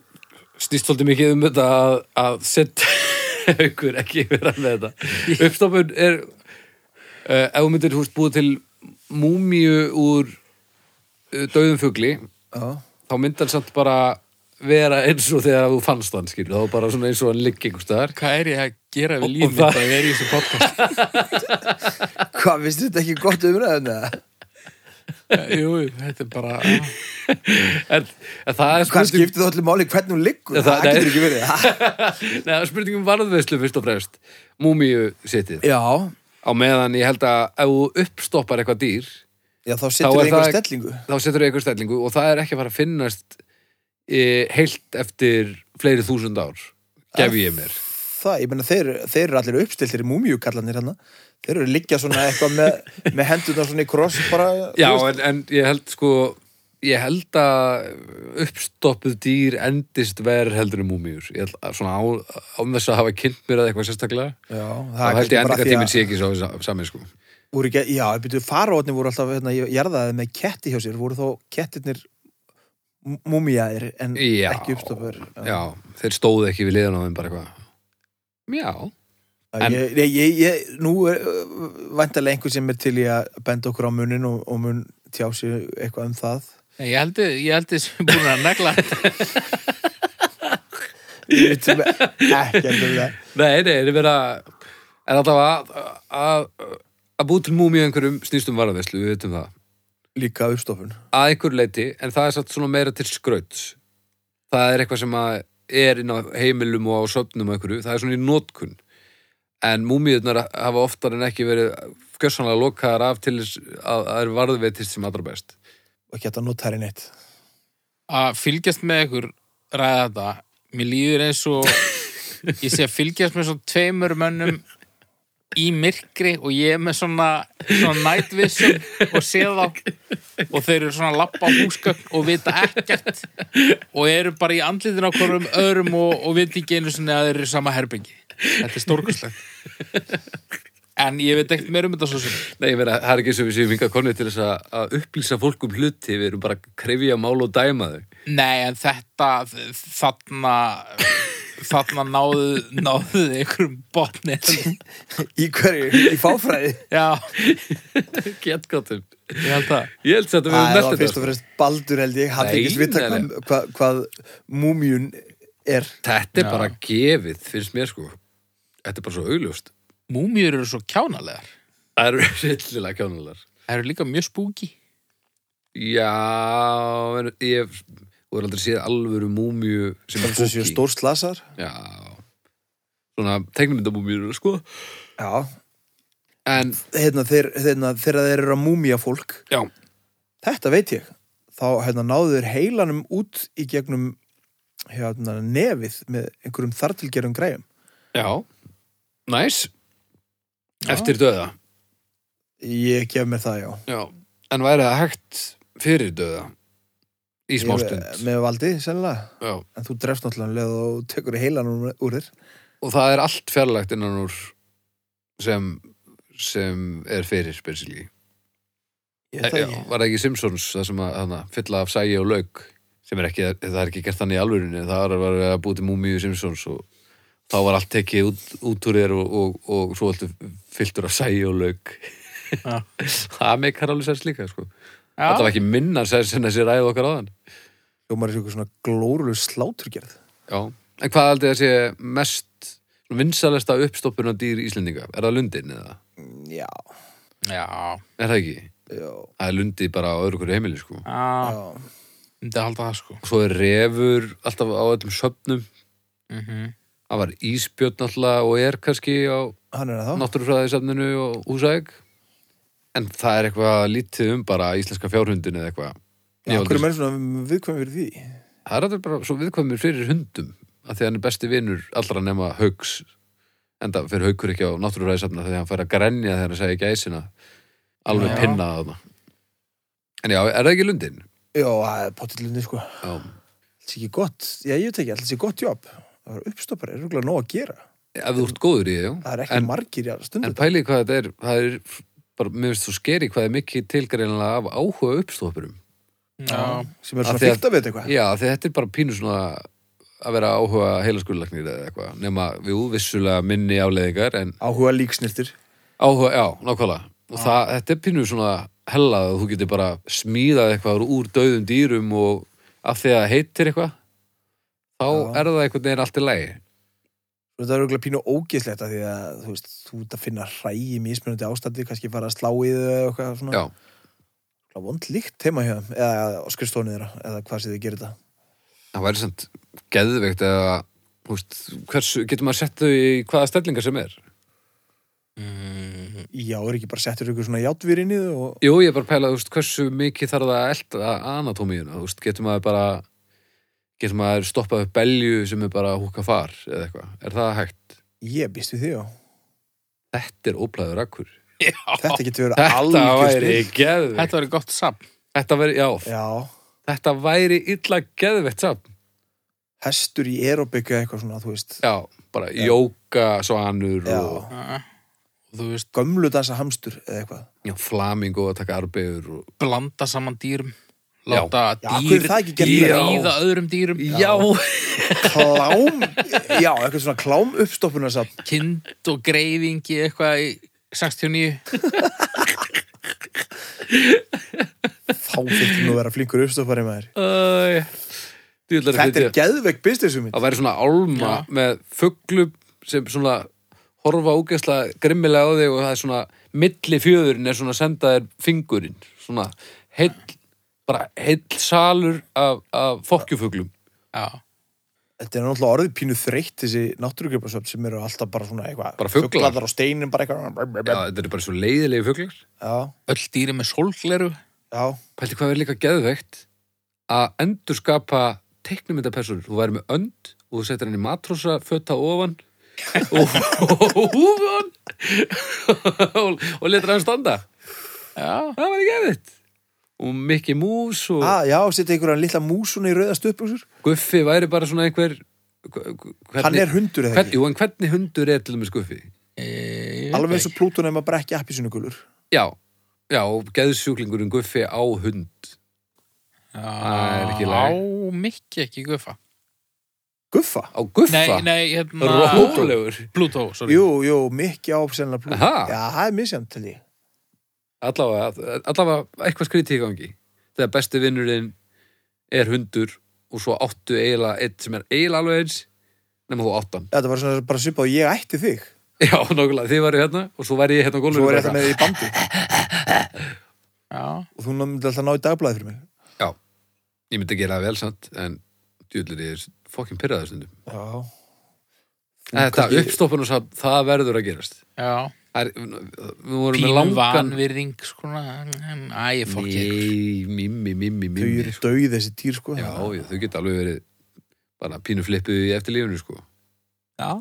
Speaker 2: snýst svolítið mikið um þetta að, að setja aukur ekki vera með þetta. Uppstoppun er uh, ef þú myndir húst búið til múmíu úr uh, döðum fugli,
Speaker 3: Já,
Speaker 2: þá myndar samt bara vera eins og þegar þú fannst hann, skilur, þá bara svona eins og hann liggi einhvers staðar.
Speaker 4: Hvað er ég að gera
Speaker 2: Og-
Speaker 4: við líf
Speaker 2: og
Speaker 4: mitt
Speaker 2: það-
Speaker 4: að vera í þessu podcast?
Speaker 3: hvað, vistu þetta ekki gott umræðin eða?
Speaker 4: jú, jú, þetta er bara ah,
Speaker 2: En, en það er
Speaker 3: Hvað
Speaker 2: spurning-
Speaker 3: skiptir þá allir máli hvernig hún liggur? Það,
Speaker 2: Já, það-
Speaker 3: það getur
Speaker 2: nei.
Speaker 3: ekki verið. Ha?
Speaker 2: Nei, það er spurning um varðveislu fyrst og fremst Múmíu sitið
Speaker 3: Já,
Speaker 2: Á meðan ég held að ef þú uppstoppar eitthvað dýr
Speaker 3: já, þá
Speaker 2: Þá
Speaker 3: setur
Speaker 2: er
Speaker 3: það einhver
Speaker 2: það-
Speaker 3: stellingu.
Speaker 2: þá setur þú eitthvað stellingu og það er ekki að fara að finnast e, heilt eftir fleiri þúsund ár gef ég mér
Speaker 3: Það, ég meina, þeir, þeir eru allir uppstiltir í múmíukallanir hann. Þeir eru liggja svona eitthvað með, með hendurna svona í kross bara.
Speaker 2: Já,
Speaker 3: þú veist.
Speaker 2: en, en ég held sko ég held að uppstoppuð dýr endist verð heldur um múmíur ég held að svona á, án þess að hafa kynnt mér að eitthvað sérstaklega
Speaker 3: já,
Speaker 2: þá
Speaker 3: það er
Speaker 2: held
Speaker 3: kannski
Speaker 2: ég
Speaker 3: bara
Speaker 2: endinga
Speaker 3: því að-
Speaker 2: tíminn sé ekki sá saman sko
Speaker 3: voru ekki, já, byrju, faraóðnir voru alltaf hérna, ég jarðaði með ketti hjá sér, voru þá kettirnir múmiaðir en
Speaker 2: Já.
Speaker 3: ekki uppstofur
Speaker 2: Já, þeir stóðu ekki við liðan á þeim bara eitthvað Já en-
Speaker 3: ég, ég, ég, ég, nú er vantarlega einhver sem er til í að benda okkur á munin og, og mun tjá sér eitthvað um það
Speaker 4: Ég held ég held ég sem búin að negla þetta.
Speaker 3: Ég veit sem ekki heldur það
Speaker 2: Nei, nei, það er verið að En alltaf að, að, að bú til múmi einhverjum snýstum varðveislu, við veitum það
Speaker 3: líka uppstofun
Speaker 2: Að einhverju leiti, en það er satt svona meira til skrauts Það er eitthvað sem að er inn á heimilum og á söfnum og einhverju, það er svona í notkun En múmiðurnar hafa oftar en ekki verið skjössanlega lokaðar af til þess að það er varðveitist sem allra best
Speaker 3: og ekki hægt að nota þær í neitt
Speaker 4: að fylgjast með ykkur ræða þetta. Mér líður eins og ég sé að fylgjast með svona tveimur mönnum í myrkri og ég er með svona, svona night vision og sé þá og þeir eru svona lappa á húsgögn og vita ekkert og eru bara í andlitin á hverjum öðrum og, og vita ekki einu sinni að þeir eru í sama herbyggi þetta er stórkustlegt en ég veit ekkert meir um þetta svo sem
Speaker 2: Nei, ég meina, það er ekki sem við séum hingað konni til þess að, að upplýsa fólk um hluti, við erum bara að krefja mál og dæma þau.
Speaker 4: Nei, en þetta þarna þarna náðu náðuð einhverjum botni
Speaker 3: í hverju, í fáfræði
Speaker 4: Já,
Speaker 2: Gett
Speaker 4: um.
Speaker 2: gottum.
Speaker 4: ég held það
Speaker 2: Ég held samt
Speaker 3: það
Speaker 2: að við höfum
Speaker 3: var
Speaker 2: nefnt
Speaker 3: fyrst og
Speaker 2: þetta.
Speaker 3: fremst baldur held ég hann
Speaker 2: Nei,
Speaker 3: ekki vita
Speaker 2: nei,
Speaker 3: hvað, hvað, hvað múmiun er
Speaker 2: Þetta er
Speaker 4: Já.
Speaker 2: bara gefið, finnst mér sko. Þetta er bara svo augljóst.
Speaker 4: Múmjur eru svo kjánalegar
Speaker 2: Það eru rillilega kjánulegar.
Speaker 4: Það eru líka mjög spúki
Speaker 2: Já, en ég voru aldrei séð alvöru múmiu sem er
Speaker 3: eins og séu
Speaker 2: fólki.
Speaker 3: stór slasar
Speaker 2: Já. Svona tegnumindamúmiur, sko.
Speaker 3: Já,
Speaker 2: en
Speaker 3: hérna, þeir, hérna, þegar þeir eru að múmía fólk
Speaker 2: já,
Speaker 3: þetta veit ég þá hérna, náðu þeir heilanum út í gegnum hérna, nefið með einhverjum þartilgerum græjum
Speaker 2: já næs eftir döða
Speaker 3: ég gef mér það já
Speaker 2: já. en væri það hægt fyrir döða í smástund
Speaker 3: Ég- með valdi sennilega
Speaker 2: já.
Speaker 3: en þú drefst náttúrulega um leið og þú tekur heilanum úr þér
Speaker 2: og það er allt fjarlægt innan úr sem sem er fyrir spesíli
Speaker 3: ég
Speaker 2: var
Speaker 3: veit það ekki
Speaker 2: það ekki Simpsons það sem að hana, fylla af sægi og lauk sem er ekki, það er ekki gert þannig í alvörunni það var verið að búti múmiðu Simpsons og þá var allt tekið út, út úr þér og, og, og svo allt fylltur af sægi og lauk
Speaker 4: Já.
Speaker 2: það meikar alveg sér slíka sko. þetta var
Speaker 4: Já,
Speaker 2: ekki minna sér sem þessi ræði okkar á þann
Speaker 3: Hljómar er svona glórulega sláturgerð
Speaker 2: Já. en hvað aldrei að sé mest vinsalesta uppstoppun á dýr Íslendinga er það lundin eða?
Speaker 3: já,
Speaker 4: já,
Speaker 2: Er það ekki?
Speaker 3: já,
Speaker 2: Það er lundi bara á öðru hverju heimili sko.
Speaker 4: já,
Speaker 3: já.
Speaker 4: myndi að halda það sko.
Speaker 2: Svo er refur alltaf á öllum söpnum
Speaker 4: Mm
Speaker 2: Það var ísbjörn alltaf og er kannski á
Speaker 3: hann er það
Speaker 2: náttúrufræðisafninu og húsæk En það er eitthvað lítið um bara íslenska fjárhundin eða eitthvað Ég hef
Speaker 3: já, hverju
Speaker 2: aldrei-
Speaker 3: menn svona viðkvæm fyrir því
Speaker 2: Það er alltaf bara svo viðkvæmur fyrir hundum að því að hann er besti vinur allra nema haugs enda fyrir haukur ekki á náttúrufræðisafna þegar hann fær að grenja þegar hann segja gæsina alveg
Speaker 4: Já.
Speaker 2: pinna að það En já, er það ekki lundin?
Speaker 3: já, það er pottillinni sko
Speaker 2: Já,
Speaker 3: alls ekki gott, já, ég veit ekki, alls ekki gott jobb það var uppstoppar, er rúglega nóg að gera
Speaker 2: ef þú ert góður í því, já
Speaker 3: það er ekki
Speaker 2: En-
Speaker 3: margir í aðra stundu
Speaker 2: En pælið hvað þetta er, það er bara, mér finnst þú skeri hvað er mikið tilgreinilega af áhuga uppstoppurum.
Speaker 4: Já,
Speaker 3: sem er
Speaker 2: Af
Speaker 3: svona
Speaker 2: því að-
Speaker 3: fyrta við þetta eitthvað
Speaker 2: Já, því þetta er bara pínu svona að vera áhuga heilaskurlagnir eða eitthvað, nema við úvissulega minni afleðingar, en
Speaker 3: áhuga líksnirtir
Speaker 2: áhuga, já, nákvæmlega. Og það, þetta er pínu svona hellað að þú getur bara smíðað eitthvað úr- úr döðum dýrum og af því að heitir eitthvað, þá
Speaker 3: Já.
Speaker 2: er það einhvern veginn allt í lagi.
Speaker 3: þetta er rúglega pínu ógeðslegt af því að þú veist, þú ert að finna hræ í mismunandi ástandi, kannski fara að slá í þau eða eitthvað svona
Speaker 2: Já,
Speaker 3: Örugglega vond líkt heima hjá þeim, eða á skrifstofunni þeirra eða hvað sem þið gerir þetta
Speaker 2: það væri samt geðveikt eða, þú veist, hversu, getur maður sett þau í hvaða stellingar sem er? Mm.
Speaker 3: já, er ekki bara settur ykkur svona játvír inn í þau og
Speaker 2: Jú, ég er bara að pæla, þú veist, hversu mikið þarf það að elda anatómíuna, þú veist, getur maður bara, getur maður stoppað upp belju sem er bara húka far eða eitthvað, er það hægt?
Speaker 3: ég býst við því já
Speaker 2: Þetta er óplæður akkur.
Speaker 3: þetta getur verið
Speaker 2: Þetta
Speaker 3: algjör
Speaker 2: væri
Speaker 3: snill.
Speaker 2: geðveikt.
Speaker 4: þetta var gott samt.
Speaker 2: Þetta væri, já,
Speaker 3: já,
Speaker 2: þetta væri illa geðveikt samt.
Speaker 3: hestur í aerobik eða eitthvað svona, þú veist
Speaker 2: Já, bara jóka svanur
Speaker 3: Já.
Speaker 2: og
Speaker 4: Þú veist,
Speaker 3: gömlu dansa hamstur eða eitthvað
Speaker 2: já, flamingo að taka arbegur og...
Speaker 4: blanda saman dýrum.
Speaker 2: Já.
Speaker 4: Láta
Speaker 3: Já, af hverju
Speaker 4: dýr,
Speaker 3: er það ekki gert
Speaker 4: dýr
Speaker 3: meira?
Speaker 4: ríða öðrum dýrum.
Speaker 3: klám, já, eitthvað svona klám uppstoppunarsafn
Speaker 4: Kind og greifingi eitthvað í 69.
Speaker 3: þá þurftum nú að vera flinkur uppstoppari maður
Speaker 2: Æ, djúðlega
Speaker 3: þetta er um geðvegg businessum minn
Speaker 2: að vera svona álma
Speaker 4: Já.
Speaker 2: með fugglum sem svona horfa ógeðsla grimmilega á þig og það er svona milli fjöðurinn er svona að senda þér fingurinn svona heill bara heill salur af, af fokkjufugglum
Speaker 4: Já,
Speaker 3: þetta er náttúrulega orðið pínu þreytt þessi náttúrugripasöfn sem eru alltaf bara svona eitthvað
Speaker 2: Bara fuglar.
Speaker 3: á steinum bara eitthvað
Speaker 2: Já, þetta er bara svo leiðilegi fugglar
Speaker 3: já,
Speaker 4: öll dýri með sólgleru.
Speaker 3: já,
Speaker 2: Pælti hvað er líka geðveikt að endurskapa teiknumyndapersonur þú væri með önd og þú settir henni matrósa fötta ofan og húfan og, og letur hann standa
Speaker 4: Já,
Speaker 2: það var ekki eðitt og Mickey Mouse og
Speaker 3: ah, já setja einhverjan litla músuna í rauðast uppbuxur
Speaker 2: Guffi væri bara svona einhver hvernig,
Speaker 3: hann er hundur eða
Speaker 2: hvern,
Speaker 3: ekki
Speaker 2: jú, en hvernig hundur er til dæmis Guffi
Speaker 4: e,
Speaker 3: alveg eins og Plúton ef maður bara ekki appisínugulur
Speaker 2: já, já, geðsjúklingurinn Guffi á hund Það er ekki í
Speaker 4: Já, á
Speaker 2: lagi.
Speaker 4: mikki ekki guffa.
Speaker 3: guffa
Speaker 2: á Guffa,
Speaker 4: Nei, nei, hérna...
Speaker 2: rólegur
Speaker 4: Plútó, sorry.
Speaker 3: jú, jú, mikið ápsennlega Plúton
Speaker 2: Aha.
Speaker 3: já, það er misjæmt til því
Speaker 2: allavega, allavega eitthvað skrítið í gangi þegar besti vinnurinn er hundur og svo áttu eiginlega eitt sem er eiginlega alveg eins nema þú áttan,
Speaker 3: þetta var svona bara svipað og ég ætti þig
Speaker 2: já, nákvæmlega, þið væri hérna og svo væri ég hérna á
Speaker 3: svo
Speaker 2: gólfinu
Speaker 3: var
Speaker 2: bara
Speaker 3: ég þetta með þig í bandi
Speaker 4: Já,
Speaker 3: og þú myndi alltaf ná í dagblæði fyrir mig
Speaker 2: Já, ég myndi gera það vel samt en djúlir ég er fokkin pyrraðar stundum
Speaker 3: já
Speaker 2: En Þetta kannski... uppstoppun og samt, það verður að gerast
Speaker 4: já.
Speaker 2: Það er, við vorum með
Speaker 4: Pínu
Speaker 2: langan
Speaker 4: vanvirðing, sko, æ, ég fokk ég.
Speaker 2: Nei, mimmi, mimmi,
Speaker 3: Þau
Speaker 2: mimmi
Speaker 3: eru döið þessi dýr, sko.
Speaker 2: Já,
Speaker 3: það-
Speaker 2: já, þau geta alveg verið bara pínu flippuð í eftirlífinu sko
Speaker 4: Já.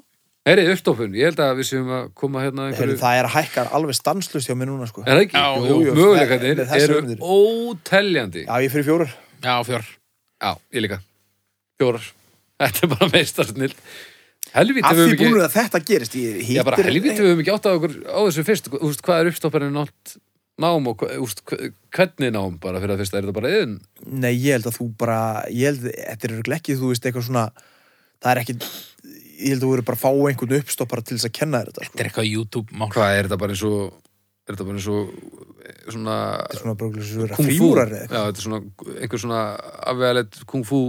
Speaker 2: Herri, uppstoppun, ég held að við séum að koma hérna að
Speaker 3: Heyrðu,
Speaker 2: einhverju
Speaker 3: það er að hækkar alveg stanslust hjá mér núna, sko.
Speaker 2: Er það ekki?
Speaker 4: Já,
Speaker 2: Jú,
Speaker 4: jú,
Speaker 3: jú.
Speaker 2: Möguleikarnir
Speaker 3: Með þessar
Speaker 2: eru
Speaker 3: hugmyndir.
Speaker 2: óteljandi
Speaker 3: Já, ég fyrir fjórar.
Speaker 4: Já, fjör.
Speaker 2: Já, ég líka Fjórar Þetta er bara meistarsnill Helvíti
Speaker 3: Af
Speaker 2: við
Speaker 3: því
Speaker 2: höfum
Speaker 3: búinur
Speaker 2: ekki
Speaker 3: að þetta gerist, ég hýttir...
Speaker 2: Já, bara helvíti við höfum ekki átt að okkur á þessu fyrst Þú veist, hvað er uppstopparinn nátt nám og hva- úst, hva- hvernig nám bara fyrir að fyrst er þetta bara yðin
Speaker 3: Nei, ég held að þú bara, ég held, þetta er örugglega ekki, þú veist, eitthvað svona, það er ekki, ég held að þú eru bara að fá einhvern uppstoppara til þess að kenna þér þetta, sko.
Speaker 4: Þetta er eitthvað YouTube-mál.
Speaker 2: Hvað er þetta bara eins og er þetta bara eins og eh, svona
Speaker 3: Þetta er svona bara okkur svona
Speaker 2: kung fu
Speaker 3: fríúrar eða
Speaker 2: Já, þetta er svona einhver svona afvegalegt kung fu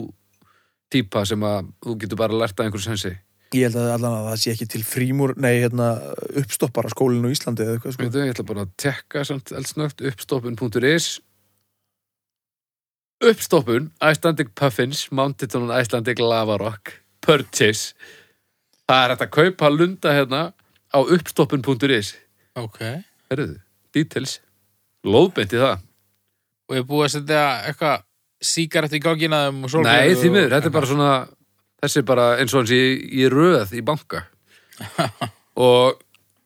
Speaker 2: típa sem að þú getur bara lært að einhverju sensi
Speaker 3: Ég held að allan að það sé ekki til frímúr, nei, hérna, uppstoppara skólinu í Íslandi eða eitthvað, sko.
Speaker 2: Veitu, ég ætla bara að tekka samt eldsnögt uppstoppun.is Uppstoppun, Icelandic Puffins, Mounted on Icelandic Lava Rock, Purchase Það er hægt að kaupa lunda hérna á uppstoppun.is
Speaker 4: Ok.
Speaker 2: Herruðu, details Lóðbeint í það
Speaker 4: Og ég búið að setja eitthvað sígarettu í gangina þeim og sólgleru.
Speaker 2: Nei, því miður,
Speaker 4: og-
Speaker 2: þetta er bara svona þessi er bara eins og hans í, í röð í banka og,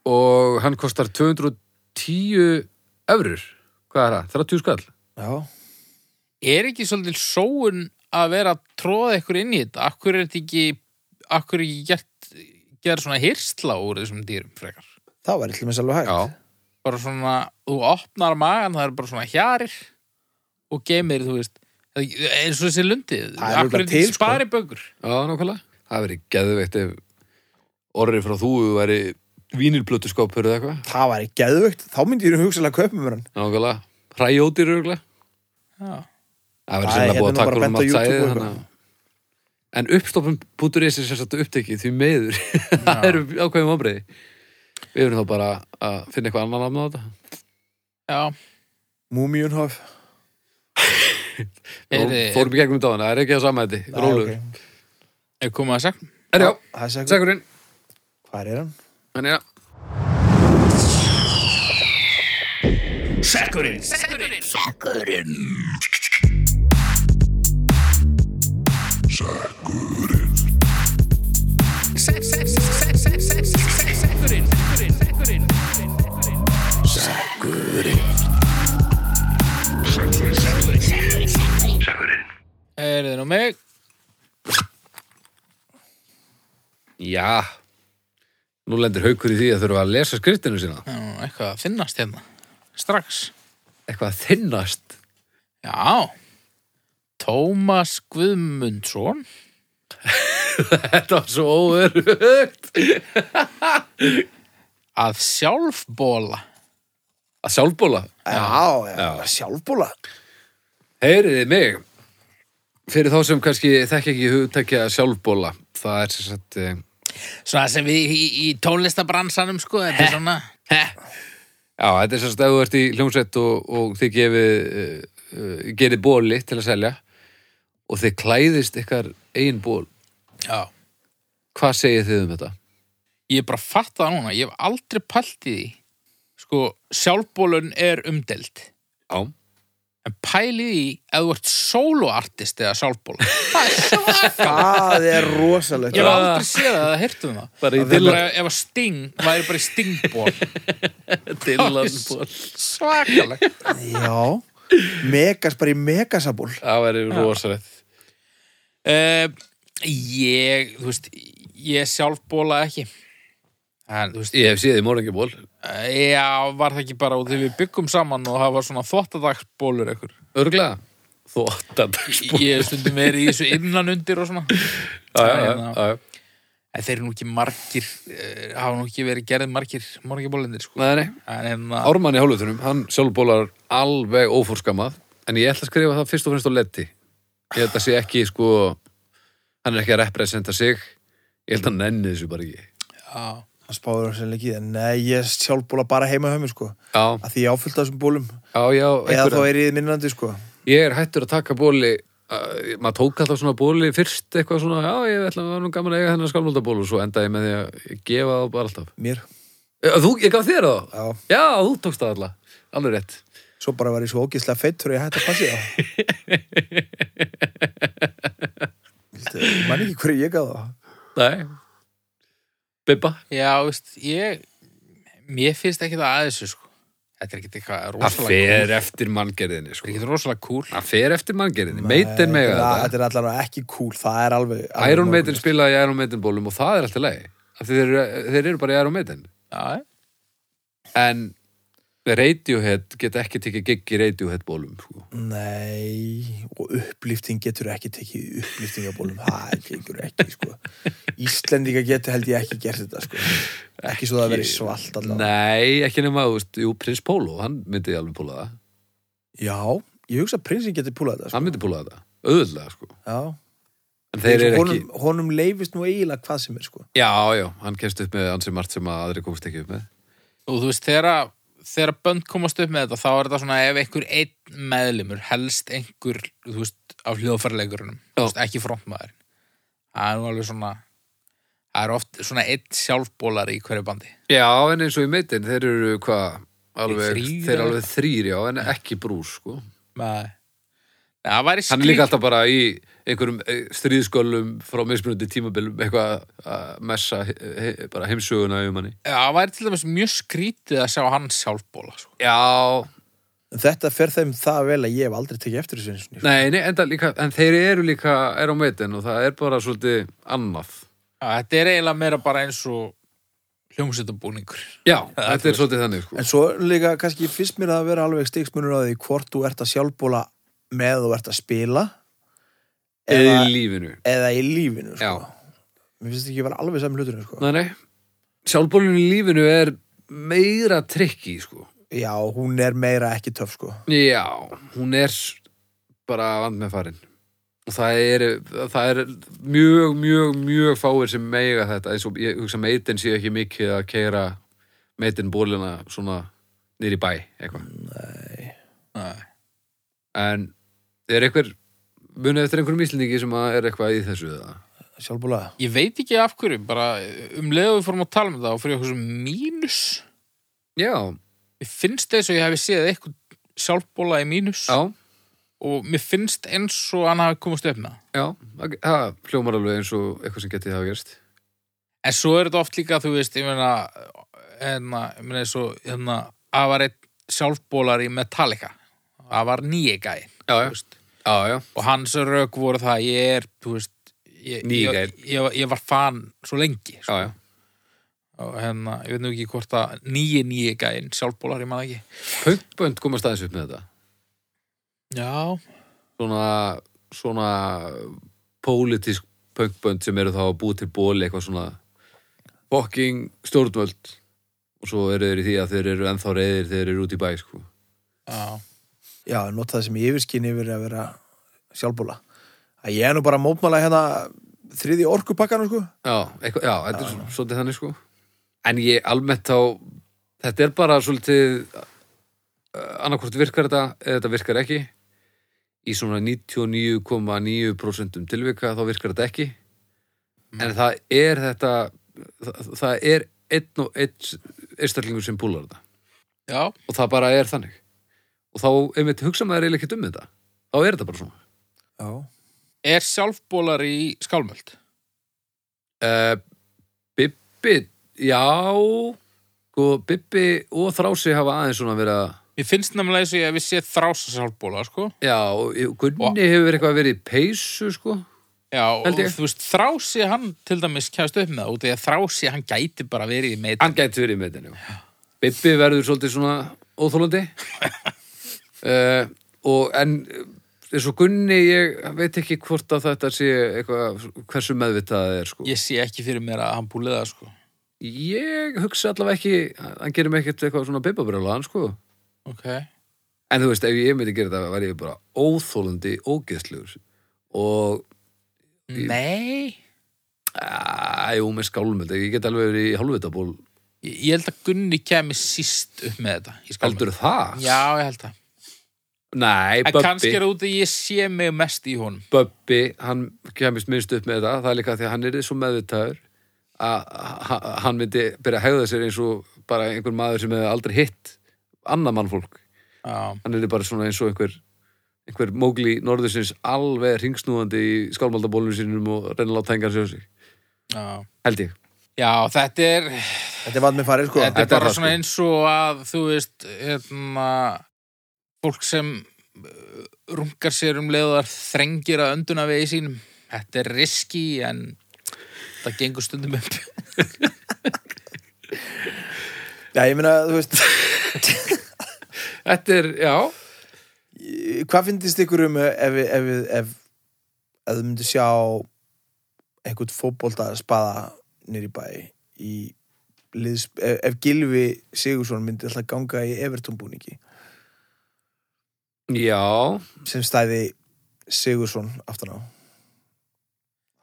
Speaker 2: og hann kostar 210 eurur hvað er það? 30 skall?
Speaker 3: Já.
Speaker 4: er ekki svolítið sóun að vera að tróða ykkur inn í þetta? Akkur er þetta ekki, akkur er ekki gert, gera svona hirsla úr þessum dýrum frekar?
Speaker 3: Það var eitthvað með alveg hægt.
Speaker 4: Bara svona, þú opnar magan, það er bara svona hjarir og geymir, þú veist, eins og þessi lundi.
Speaker 3: Það er
Speaker 4: Akkur er
Speaker 3: örugglega
Speaker 4: þetta ekki
Speaker 3: til, sko.
Speaker 4: spari bögur?
Speaker 2: Já, nákvæmlega Það verið geðveikt ef orrið frá þú væri vínilblötu skopur eða eitthvað
Speaker 3: Það var ekki geðvögt, þá myndi ég hugsalega að kaupa mér hann.
Speaker 2: Nákvæmlega, hræjótir örgulega
Speaker 4: Já.
Speaker 2: Það verið
Speaker 3: Æ,
Speaker 2: sérlega búið
Speaker 3: hérna nú bara
Speaker 2: að taka um
Speaker 3: bent á
Speaker 2: allt
Speaker 3: YouTube
Speaker 2: sæði
Speaker 3: og eitthvað.
Speaker 2: þannig að- En uppstoppum.is er sérstætt upptekið því meður Það eru ákveðum ábreyði Við erum þá bara að finna eitthvað annan nafn á þetta
Speaker 4: Já,
Speaker 3: Múmíunhof.
Speaker 4: er,
Speaker 2: Nú Fórum í gegnum þetta á hana, það er ekki það sama þetta Rólu okay.
Speaker 4: er komið að segna?
Speaker 2: Er já,
Speaker 3: Það er segur.
Speaker 2: segurinn
Speaker 3: Hvað er hann?
Speaker 2: Þannig að
Speaker 4: Er þið nú mig?
Speaker 2: Já Nú lendir haukur í því að þurfa að lesa skriftinu sína
Speaker 4: Já, Eitthvað að finnast hérna. Strax.
Speaker 2: Eitthvað að þinnast
Speaker 4: Já, Tómas Guðmundsson
Speaker 2: Þetta var svo óörugt
Speaker 4: að sjálfbóla.
Speaker 2: Að sjálfbóla
Speaker 3: Já,
Speaker 2: já.
Speaker 3: já, sjálfbóla.
Speaker 2: Heyriði mig Fyrir þá sem kannski þekki ekki hugtækja sjálfbóla Það er sér satt eh,
Speaker 4: Svona sem við í, í tónlistabransanum, sko, þetta er svona...
Speaker 2: Já, þetta er sérst að þú ert í hljómsveit og, og þið gefið uh, uh, gerið bóli til að selja og þið klæðist ykkar eigin ból.
Speaker 4: Já.
Speaker 2: Hvað segir þið um þetta?
Speaker 4: Ég er bara að fatta það núna, ég hef aldrei pælt í því. Sko, sjálfbólun er umdeld.
Speaker 2: Já.
Speaker 4: En pælið í að þú ert soloartist eða sjálfbóla. Það er svaka.
Speaker 3: Það er rosalegt.
Speaker 4: Ég hef aldrei séð það að hirtum það.
Speaker 2: Bara í
Speaker 4: Það er bara, ef að Sting, væri bara í Stingból.
Speaker 2: Dylan-ból.
Speaker 4: Svakalegt.
Speaker 3: Já, megas, bara í megasaból.
Speaker 2: Það væri rosalegt.
Speaker 4: Uh, ég, þú veist, ég sjálfbóla ekki. En, þú veist,
Speaker 2: Ég hef séð í morgunból.
Speaker 4: eh, já, var það ekki bara út þegar við byggum saman og það var svona þvottadagsbólur ekkur.
Speaker 2: Örglega. Þóttadagsból.
Speaker 4: Ég hef stundum verið í þessu innan undir og svona.
Speaker 2: Já, já, já,
Speaker 4: hérna.
Speaker 2: já.
Speaker 4: En þeir eru nú ekki margir, uh, hafa nú ekki verið gerðið margir morgibólendir, sko.
Speaker 2: Nei, nei.
Speaker 4: En, en, að-
Speaker 2: Ármann í hálfutunum, hann sjálfbólar alveg ófórskamað, en ég ætla að skrifa það fyrst og fremst á leti. Ég held að sé ekki, sko, hann er ekki að representa sig. Ég held að hann nenni þessu bara ekki.
Speaker 4: já,
Speaker 3: Það spáður það sérlega ekki. Nei, ég sjálfbóla bara heima höfum, sko.
Speaker 2: Já,
Speaker 3: Að því ég áfyllt af þessum bólum.
Speaker 2: já, já.
Speaker 3: Eða
Speaker 2: einhverja.
Speaker 3: þá er ég minnandi, sko.
Speaker 2: ég er hættur að taka bóli uh, maður tók alltaf svona bóli fyrst eitthvað svona, já ég ætla að vera nú gaman að eiga þennan skálmöldabólu og svo endaði ég með því að gefa það bara alltaf
Speaker 3: Mér.
Speaker 2: Eh, Þú, ég gaf þér það?
Speaker 3: Já.
Speaker 2: Já, þú tókst það alltaf. Alveg rétt.
Speaker 3: Svo bara var ég svo ógislega feittur að ég hætti að passi það. Viltu- Ég man ekki hverju ég gaf það.
Speaker 2: Nei. Bibba.
Speaker 4: Já, veist, ég mér finnst ekki það aðeins sko. þetta er ekki eitthvað
Speaker 2: Það
Speaker 4: rosalega kúl.
Speaker 2: fer eftir manngerðinni,
Speaker 4: Þetta er
Speaker 2: sko.
Speaker 4: ekki rosalega kúl
Speaker 2: Það fer eftir manngerðinni. Meitin mega
Speaker 3: þetta.
Speaker 2: þetta.
Speaker 3: Þetta er allavega ekki cool, það er alveg... alveg
Speaker 2: Iron Maiden
Speaker 3: nógulegt.
Speaker 2: spilaði í Iron Maiden bólum og það er alltaf leið. Af því þeir, eru- þeir eru bara í Iron Maiden.
Speaker 4: Já,
Speaker 2: En Radiohead geta ekki tekið gig í Radiohead bólum, sko.
Speaker 3: Nei, og upplýfting getur ekki tekið upplýftingabólum, það gengur ekki, sko. Íslendinga getur held ég ekki gert þetta, sko. Ekki svo það verið svalt allavega.
Speaker 2: Nei, ekki nema, þú veist, jú, Prins Pólo, hann myndi alveg púla það.
Speaker 3: Já, ég hugsa að prinsin getur púlað þetta,
Speaker 2: Hann myndi púla það. Auðvitað, sko.
Speaker 3: sko. Já.
Speaker 2: En þeir eru
Speaker 3: honum,
Speaker 2: ekki...
Speaker 3: honum leifist nú eiginlega hvað sem er, sko.
Speaker 2: Já, já, hann kemst upp með ansi margt sem að aðri komst ekki upp með.
Speaker 4: og þú veist, þegar að- þegar að bönd komast upp með þetta, þá er þetta svona ef einhver einn meðlumur, helst einhver, þú veist, af hljóðfærleikurunum þú veist, ekki frontmaður það er nú alveg svona það er oft svona einn sjálfbólar í hverju bandi
Speaker 2: Já, en eins og í meitin, þeir eru hvað, alveg,
Speaker 4: Þrír,
Speaker 2: þeir eru
Speaker 4: eða?
Speaker 2: alveg þrýr, já, en ekki brús, sko.
Speaker 4: Nei, það væri
Speaker 2: Hann er líka
Speaker 4: skrýt
Speaker 2: alltaf bara í einhverjum eh, stríðskölum frá mismunandi tímabilum, eitthvað að messa he, he, bara heimsöguna um hann.
Speaker 4: það væri til dæmis mjög skrítið að sjá hann sjálfbóla sko.
Speaker 2: Já,
Speaker 3: En þetta fer þeim það vel að ég hef aldrei tekið eftir þessu eins og nýtt.
Speaker 2: nei, nei, enda líka, en þeir eru líka, er á meitin og það er bara svolítið annað.
Speaker 4: Já, þetta er eiginlega meira bara eins og hljómsveitabúningur
Speaker 2: Já, þetta er svolítið þannig, sko.
Speaker 3: En svo líka, kannski finnst mér að vera alveg stigsmunur á því hvort þú ert að sjálfbóla með þú ert að spila
Speaker 2: Eða í
Speaker 3: eða,
Speaker 2: lífinu.
Speaker 3: eða í lífinu, sko.
Speaker 2: Já.
Speaker 3: Mér finnst ekki að vera alveg saman hluturinn, sko.
Speaker 2: Nei, nei. Sjálfbólun í lífinu er meira trikki, sko.
Speaker 3: Já, hún er meira ekki töf, sko.
Speaker 2: Já, hún er bara vand með farin og það er, það er mjög, mjög, mjög fáir sem meiga þetta eins og ég hugsa meitin séu ekki mikið að keira meitin bólina svona nýri bæ eitthvað
Speaker 4: Nei.
Speaker 2: en er einhver munið eftir einhverjum íslendingi sem að er eitthvað í þessu eða?
Speaker 3: Sjálfbóla.
Speaker 4: Ég veit ekki af hverju, bara um leiðu við fórum að tala um það og fyrir okkur sem mínus
Speaker 2: Já,
Speaker 4: Mér finnst eins og ég hefði séð eitthvað sjálfbóla í mínus
Speaker 2: já,
Speaker 4: og mér finnst eins og hann hafi komast upp með það.
Speaker 2: já það það hljómar alveg eins og eitthvað sem getið hafa gerst
Speaker 4: En svo er þetta oft líka, þú veist, ég meina, hérna, ég meina eins og, hérna, að var einn sjálfbólar í Metallica. Það var nýi gæi.
Speaker 2: Já, já.
Speaker 4: þú veist.
Speaker 2: Já, já,
Speaker 4: Og hans rauk voru það að ég er, þú veist, ég,
Speaker 2: Nýi
Speaker 4: ég,
Speaker 2: gæinn.
Speaker 4: ég, ég, var fan svo lengi.
Speaker 2: já,
Speaker 4: Sko.
Speaker 2: já
Speaker 4: Og hérna, ég veit nú ekki hvort að nýi nýi gæin sjálfbólar, ég maður ekki.
Speaker 2: Punkbönd komast aðeins upp með þetta
Speaker 4: Já,
Speaker 2: svona, svona pólitísk pönkbönd sem eru þá að búa til bóli eitthvað svona fucking stjórnvöld og svo eru þeir í því að þeir eru ennþá reyðir þeir eru út í bæ sko.
Speaker 4: já.
Speaker 3: Já, nota það sem yfirskinn yfir að vera sjálfbóla. Að ég er nú bara að mótmála hérna þriði orkupakkanum, sko.
Speaker 2: já, eitthvað, já, þetta er svo- svolítið þannig sko. en ég almennt þá þetta er bara svolítið eh, annarkvort virkar þetta eða þetta virkar ekki í svona 99,9% tilvika þá virkar þetta ekki en það er þetta það, það er einn og einn einstaklingur sem púlar þetta
Speaker 4: Já,
Speaker 2: og það bara er þannig og þá, ef við hugsa maður eiginlega ekki um þetta þá er þetta bara svona
Speaker 3: Já.
Speaker 4: er sjálfbólar í skálmöld?
Speaker 2: uh, Bibbi, já sko, Bibbi og Þrási hafa aðeins svona verið að
Speaker 4: Mér finnst nefnilega eins og ég hef séð þrása sjálfbóla, sko.
Speaker 2: já, og Gunni hefur eitthvað verið í peysu sko,
Speaker 4: Já, og
Speaker 2: Held ég.
Speaker 4: þú veist, þrási hann til dæmis kæðast upp með það út af því að þrási hann gæti bara verið í meitin.
Speaker 2: hann gæti verið með þetta já. Bibbi verður svolítið svona óþólandi uh, og en eh, eins og Gunni, ég veit ekki hvort að þetta sé eitthvað, hversu meðvitað það er sko.
Speaker 4: Ég sé ekki fyrir mér að hann búlið það, sko.
Speaker 2: Ég hugsa allavega ekki, hann gerir mig ekkert eitthvað svona beibabrjóla, hann sko.
Speaker 4: Ok.
Speaker 2: En þú veist, ef ég myndi gera þetta, væri ég bara óþólandi, ógeðslegur. Og,
Speaker 4: Nei,
Speaker 2: að, jú, með skálmöld, ég get alveg verið í hálfvitaból.
Speaker 4: ég ég held að Gunni kemi síst upp með þetta í skálmöld.
Speaker 2: Heldur það?
Speaker 4: Já, ég held það.
Speaker 2: Nei,
Speaker 4: En kannski
Speaker 2: Böbbi,
Speaker 4: er það út af því að ég sé mig mest í honum.
Speaker 2: Böbbi, hann kemist minnst upp með þetta, það er líka því að hann er svo meðvitaður að að- að hann myndi byrja að hegða sér eins og bara einhver maður sem hefði aldrei hitt annað mannfólk
Speaker 4: Já,
Speaker 2: hann er bara svona eins og einhver einhver mógli norðursins alveg ringsnúandi í skálmaldabólunum sínum og reyna að láta hengar sér á sig
Speaker 4: já.
Speaker 2: held ég
Speaker 4: Já, þetta er,
Speaker 3: Þetta er vatnum farið, sko.
Speaker 4: þetta
Speaker 2: þetta er
Speaker 4: er bara
Speaker 2: það,
Speaker 4: svona
Speaker 2: sko.
Speaker 4: eins og að, þú veist, hérna, fólk sem uh, rungar sér um leiðar þrengir að önduna vegi sínum. Þetta er riski, en það gengur stundum upp.
Speaker 3: Já, ég meina, þú veist,
Speaker 2: Þetta er, já,
Speaker 3: hvað finnst ykkur um eh, ef, við- ef, ef, ef, ef þið myndu sjá einhvern fótbolta spaða nýri bæ í liðs, ef, ef Gilvi Sigursson myndi alltaf ganga í Everton búningi
Speaker 2: já
Speaker 3: sem stæði Sigursson aftan á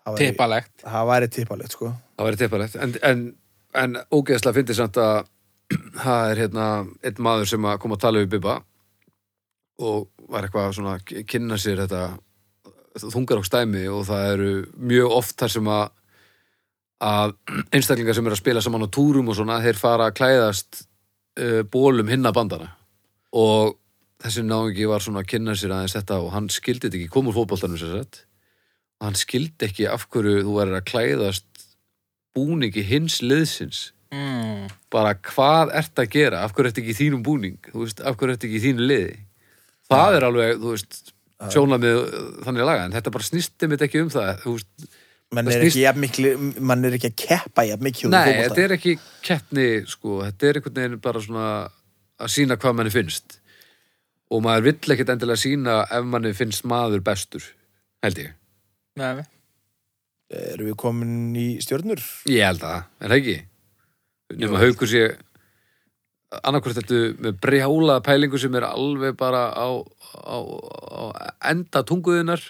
Speaker 3: Það væri-
Speaker 4: Tippalegt.
Speaker 3: Það væri tippalegt, sko.
Speaker 2: Það væri teppalegt, en, en, en ógeðslega fyndi samt að það er hérna einn maður sem að kom að tala við Bibba og var eitthvað svona að kynna sér þetta þungar og stæmi og það eru mjög oft þar sem að, að einstaklingar sem eru að spila saman á túrum og svona, þeir fara að klæðast uh, bólum hinna bandana og þessi náungi var svona að kynna sér aðeins þetta og hann skildi þetta ekki, kom úr fótboltanum sér sett hann skildi ekki af hverju þú verður að klæðast búningi hins liðsins
Speaker 4: Mm.
Speaker 2: bara hvað ert að gera af hverju ert ekki í þínum búning þú veist, af hverju ert ekki í þínu liði það er alveg, þú veist, sjóna með þannig laga, en þetta bara snýstum þetta ekki um það, þú veist,
Speaker 3: Mann
Speaker 2: Það
Speaker 3: er,
Speaker 2: snýst-
Speaker 3: ekki jafn miklu, mann er ekki að keppa jafn mikið
Speaker 2: nei, þetta er ekki keppni, sko, þetta er einhvern veginn bara svona að sína hvað manni finnst og maður vill ekkit endilega sína ef manni finnst maður bestur held ég,
Speaker 4: Nei,
Speaker 3: Erum við komin í stjörnur?
Speaker 2: ég held það, er það ekki nema haukur sé annarkvort þetta með brjálaða pælingu sem er alveg bara á, á, á enda tunguðinnar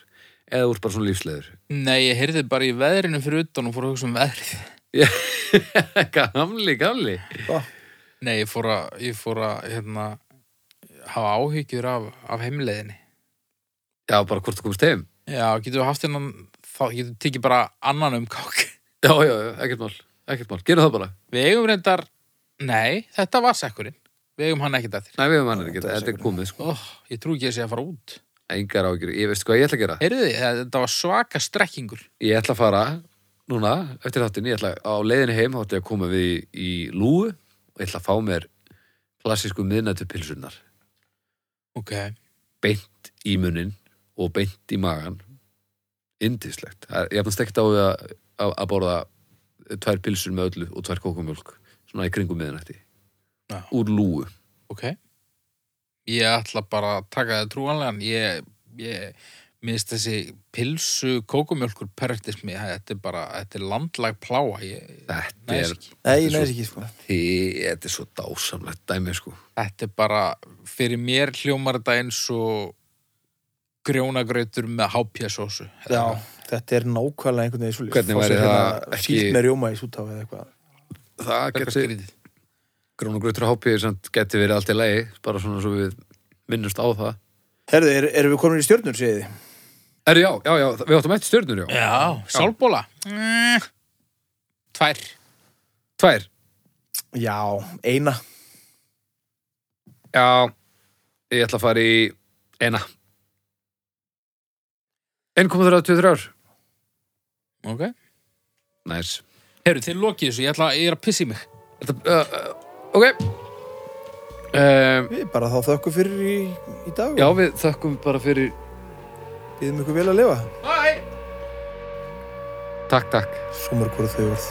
Speaker 2: eða úr bara svona lífsleður
Speaker 4: Nei, ég heyrði bara í veðrinu fyrir utan og fór að hugsa um veðrið.
Speaker 2: gamli, gamli
Speaker 4: Nei, ég fór að, ég fór að hérna, hafa áhyggjur af, af heimleiðinni.
Speaker 2: já, bara hvort þú komst heim
Speaker 4: Já, getur við haft hennan, þá getur við tekið bara annan um kák.
Speaker 2: já, já, já, ekkert mál, ekkert mál, gerum það bara
Speaker 4: Við eigum reyndar, nei, þetta var sekkurinn. Við eigum hann ekkert að þér.
Speaker 2: nei, við hefum hann ekki, þetta er komið sko.
Speaker 4: Ó, Oh, ég trú ekki að sé að fara út.
Speaker 2: engar ágjur, ég veist hvað ég ætla að gera
Speaker 4: Heyrðu þið, þetta var svaka strekkingur.
Speaker 2: ég ætla að fara núna eftir þáttin, ég ætla á leiðinu heim þá ætla ég að koma við í, í lúu og ég ætla að fá mér klassísku miðnættupilsunar
Speaker 4: Ok.
Speaker 2: beint í munin og beint í magan indislegt, ég hafði stekt á við að, að, að borða tvær pilsur með öllu og tvær kókumjólk svona í kringum miðanætti
Speaker 4: Já.
Speaker 2: úr lúu,
Speaker 4: Ok. Ég ætla bara að taka það trúanlegan. Ég, ég, minnst þessi pilsu kókumjölkur pervertismi, þetta er bara, þetta er landlag pláa. Ég,
Speaker 2: þetta
Speaker 4: Næs
Speaker 2: er
Speaker 4: ekki.
Speaker 3: Nei, ég
Speaker 2: svo-
Speaker 3: næs ekki, sko.
Speaker 2: því, þetta er svo dásamlegt dæmi sko,
Speaker 4: þetta er bara, fyrir mér hljómar þetta eins og grjónagrautur með hápjasósu.
Speaker 3: Já, þetta er nákvæmlega einhvern veginn svolítið.
Speaker 2: Hvernig væri það ekki-
Speaker 3: Sýtt hérna með rjóma í sútá eða eitthvað.
Speaker 2: það
Speaker 4: Eitthvað
Speaker 2: geti
Speaker 4: skrítið.
Speaker 2: grón og grötur hápið samt geti verið allt í lagi, bara svona svo við minnumst á það,
Speaker 3: Herðu, er, erum við komin í stjörnur, segið þið?
Speaker 2: er já, já, já við áttum eitt stjörnur, já,
Speaker 4: Já, sálbóla. Mm. Tvær.
Speaker 2: tvær
Speaker 3: Já, eina.
Speaker 2: já, ég ætla að fara í eina 1,33 ár
Speaker 4: Ok.
Speaker 2: Næs.
Speaker 4: Herru, þið lokið þessu, ég, ætla, ég er að pissi mig.
Speaker 2: Þetta, uh, uh, ok um,
Speaker 3: Við bara þá þökkum fyrir í, í dag.
Speaker 2: Já, við þökkum bara fyrir
Speaker 3: Býðum ykkur vel að lifa.
Speaker 2: Takk, takk
Speaker 3: Svo mörg voru þau orð.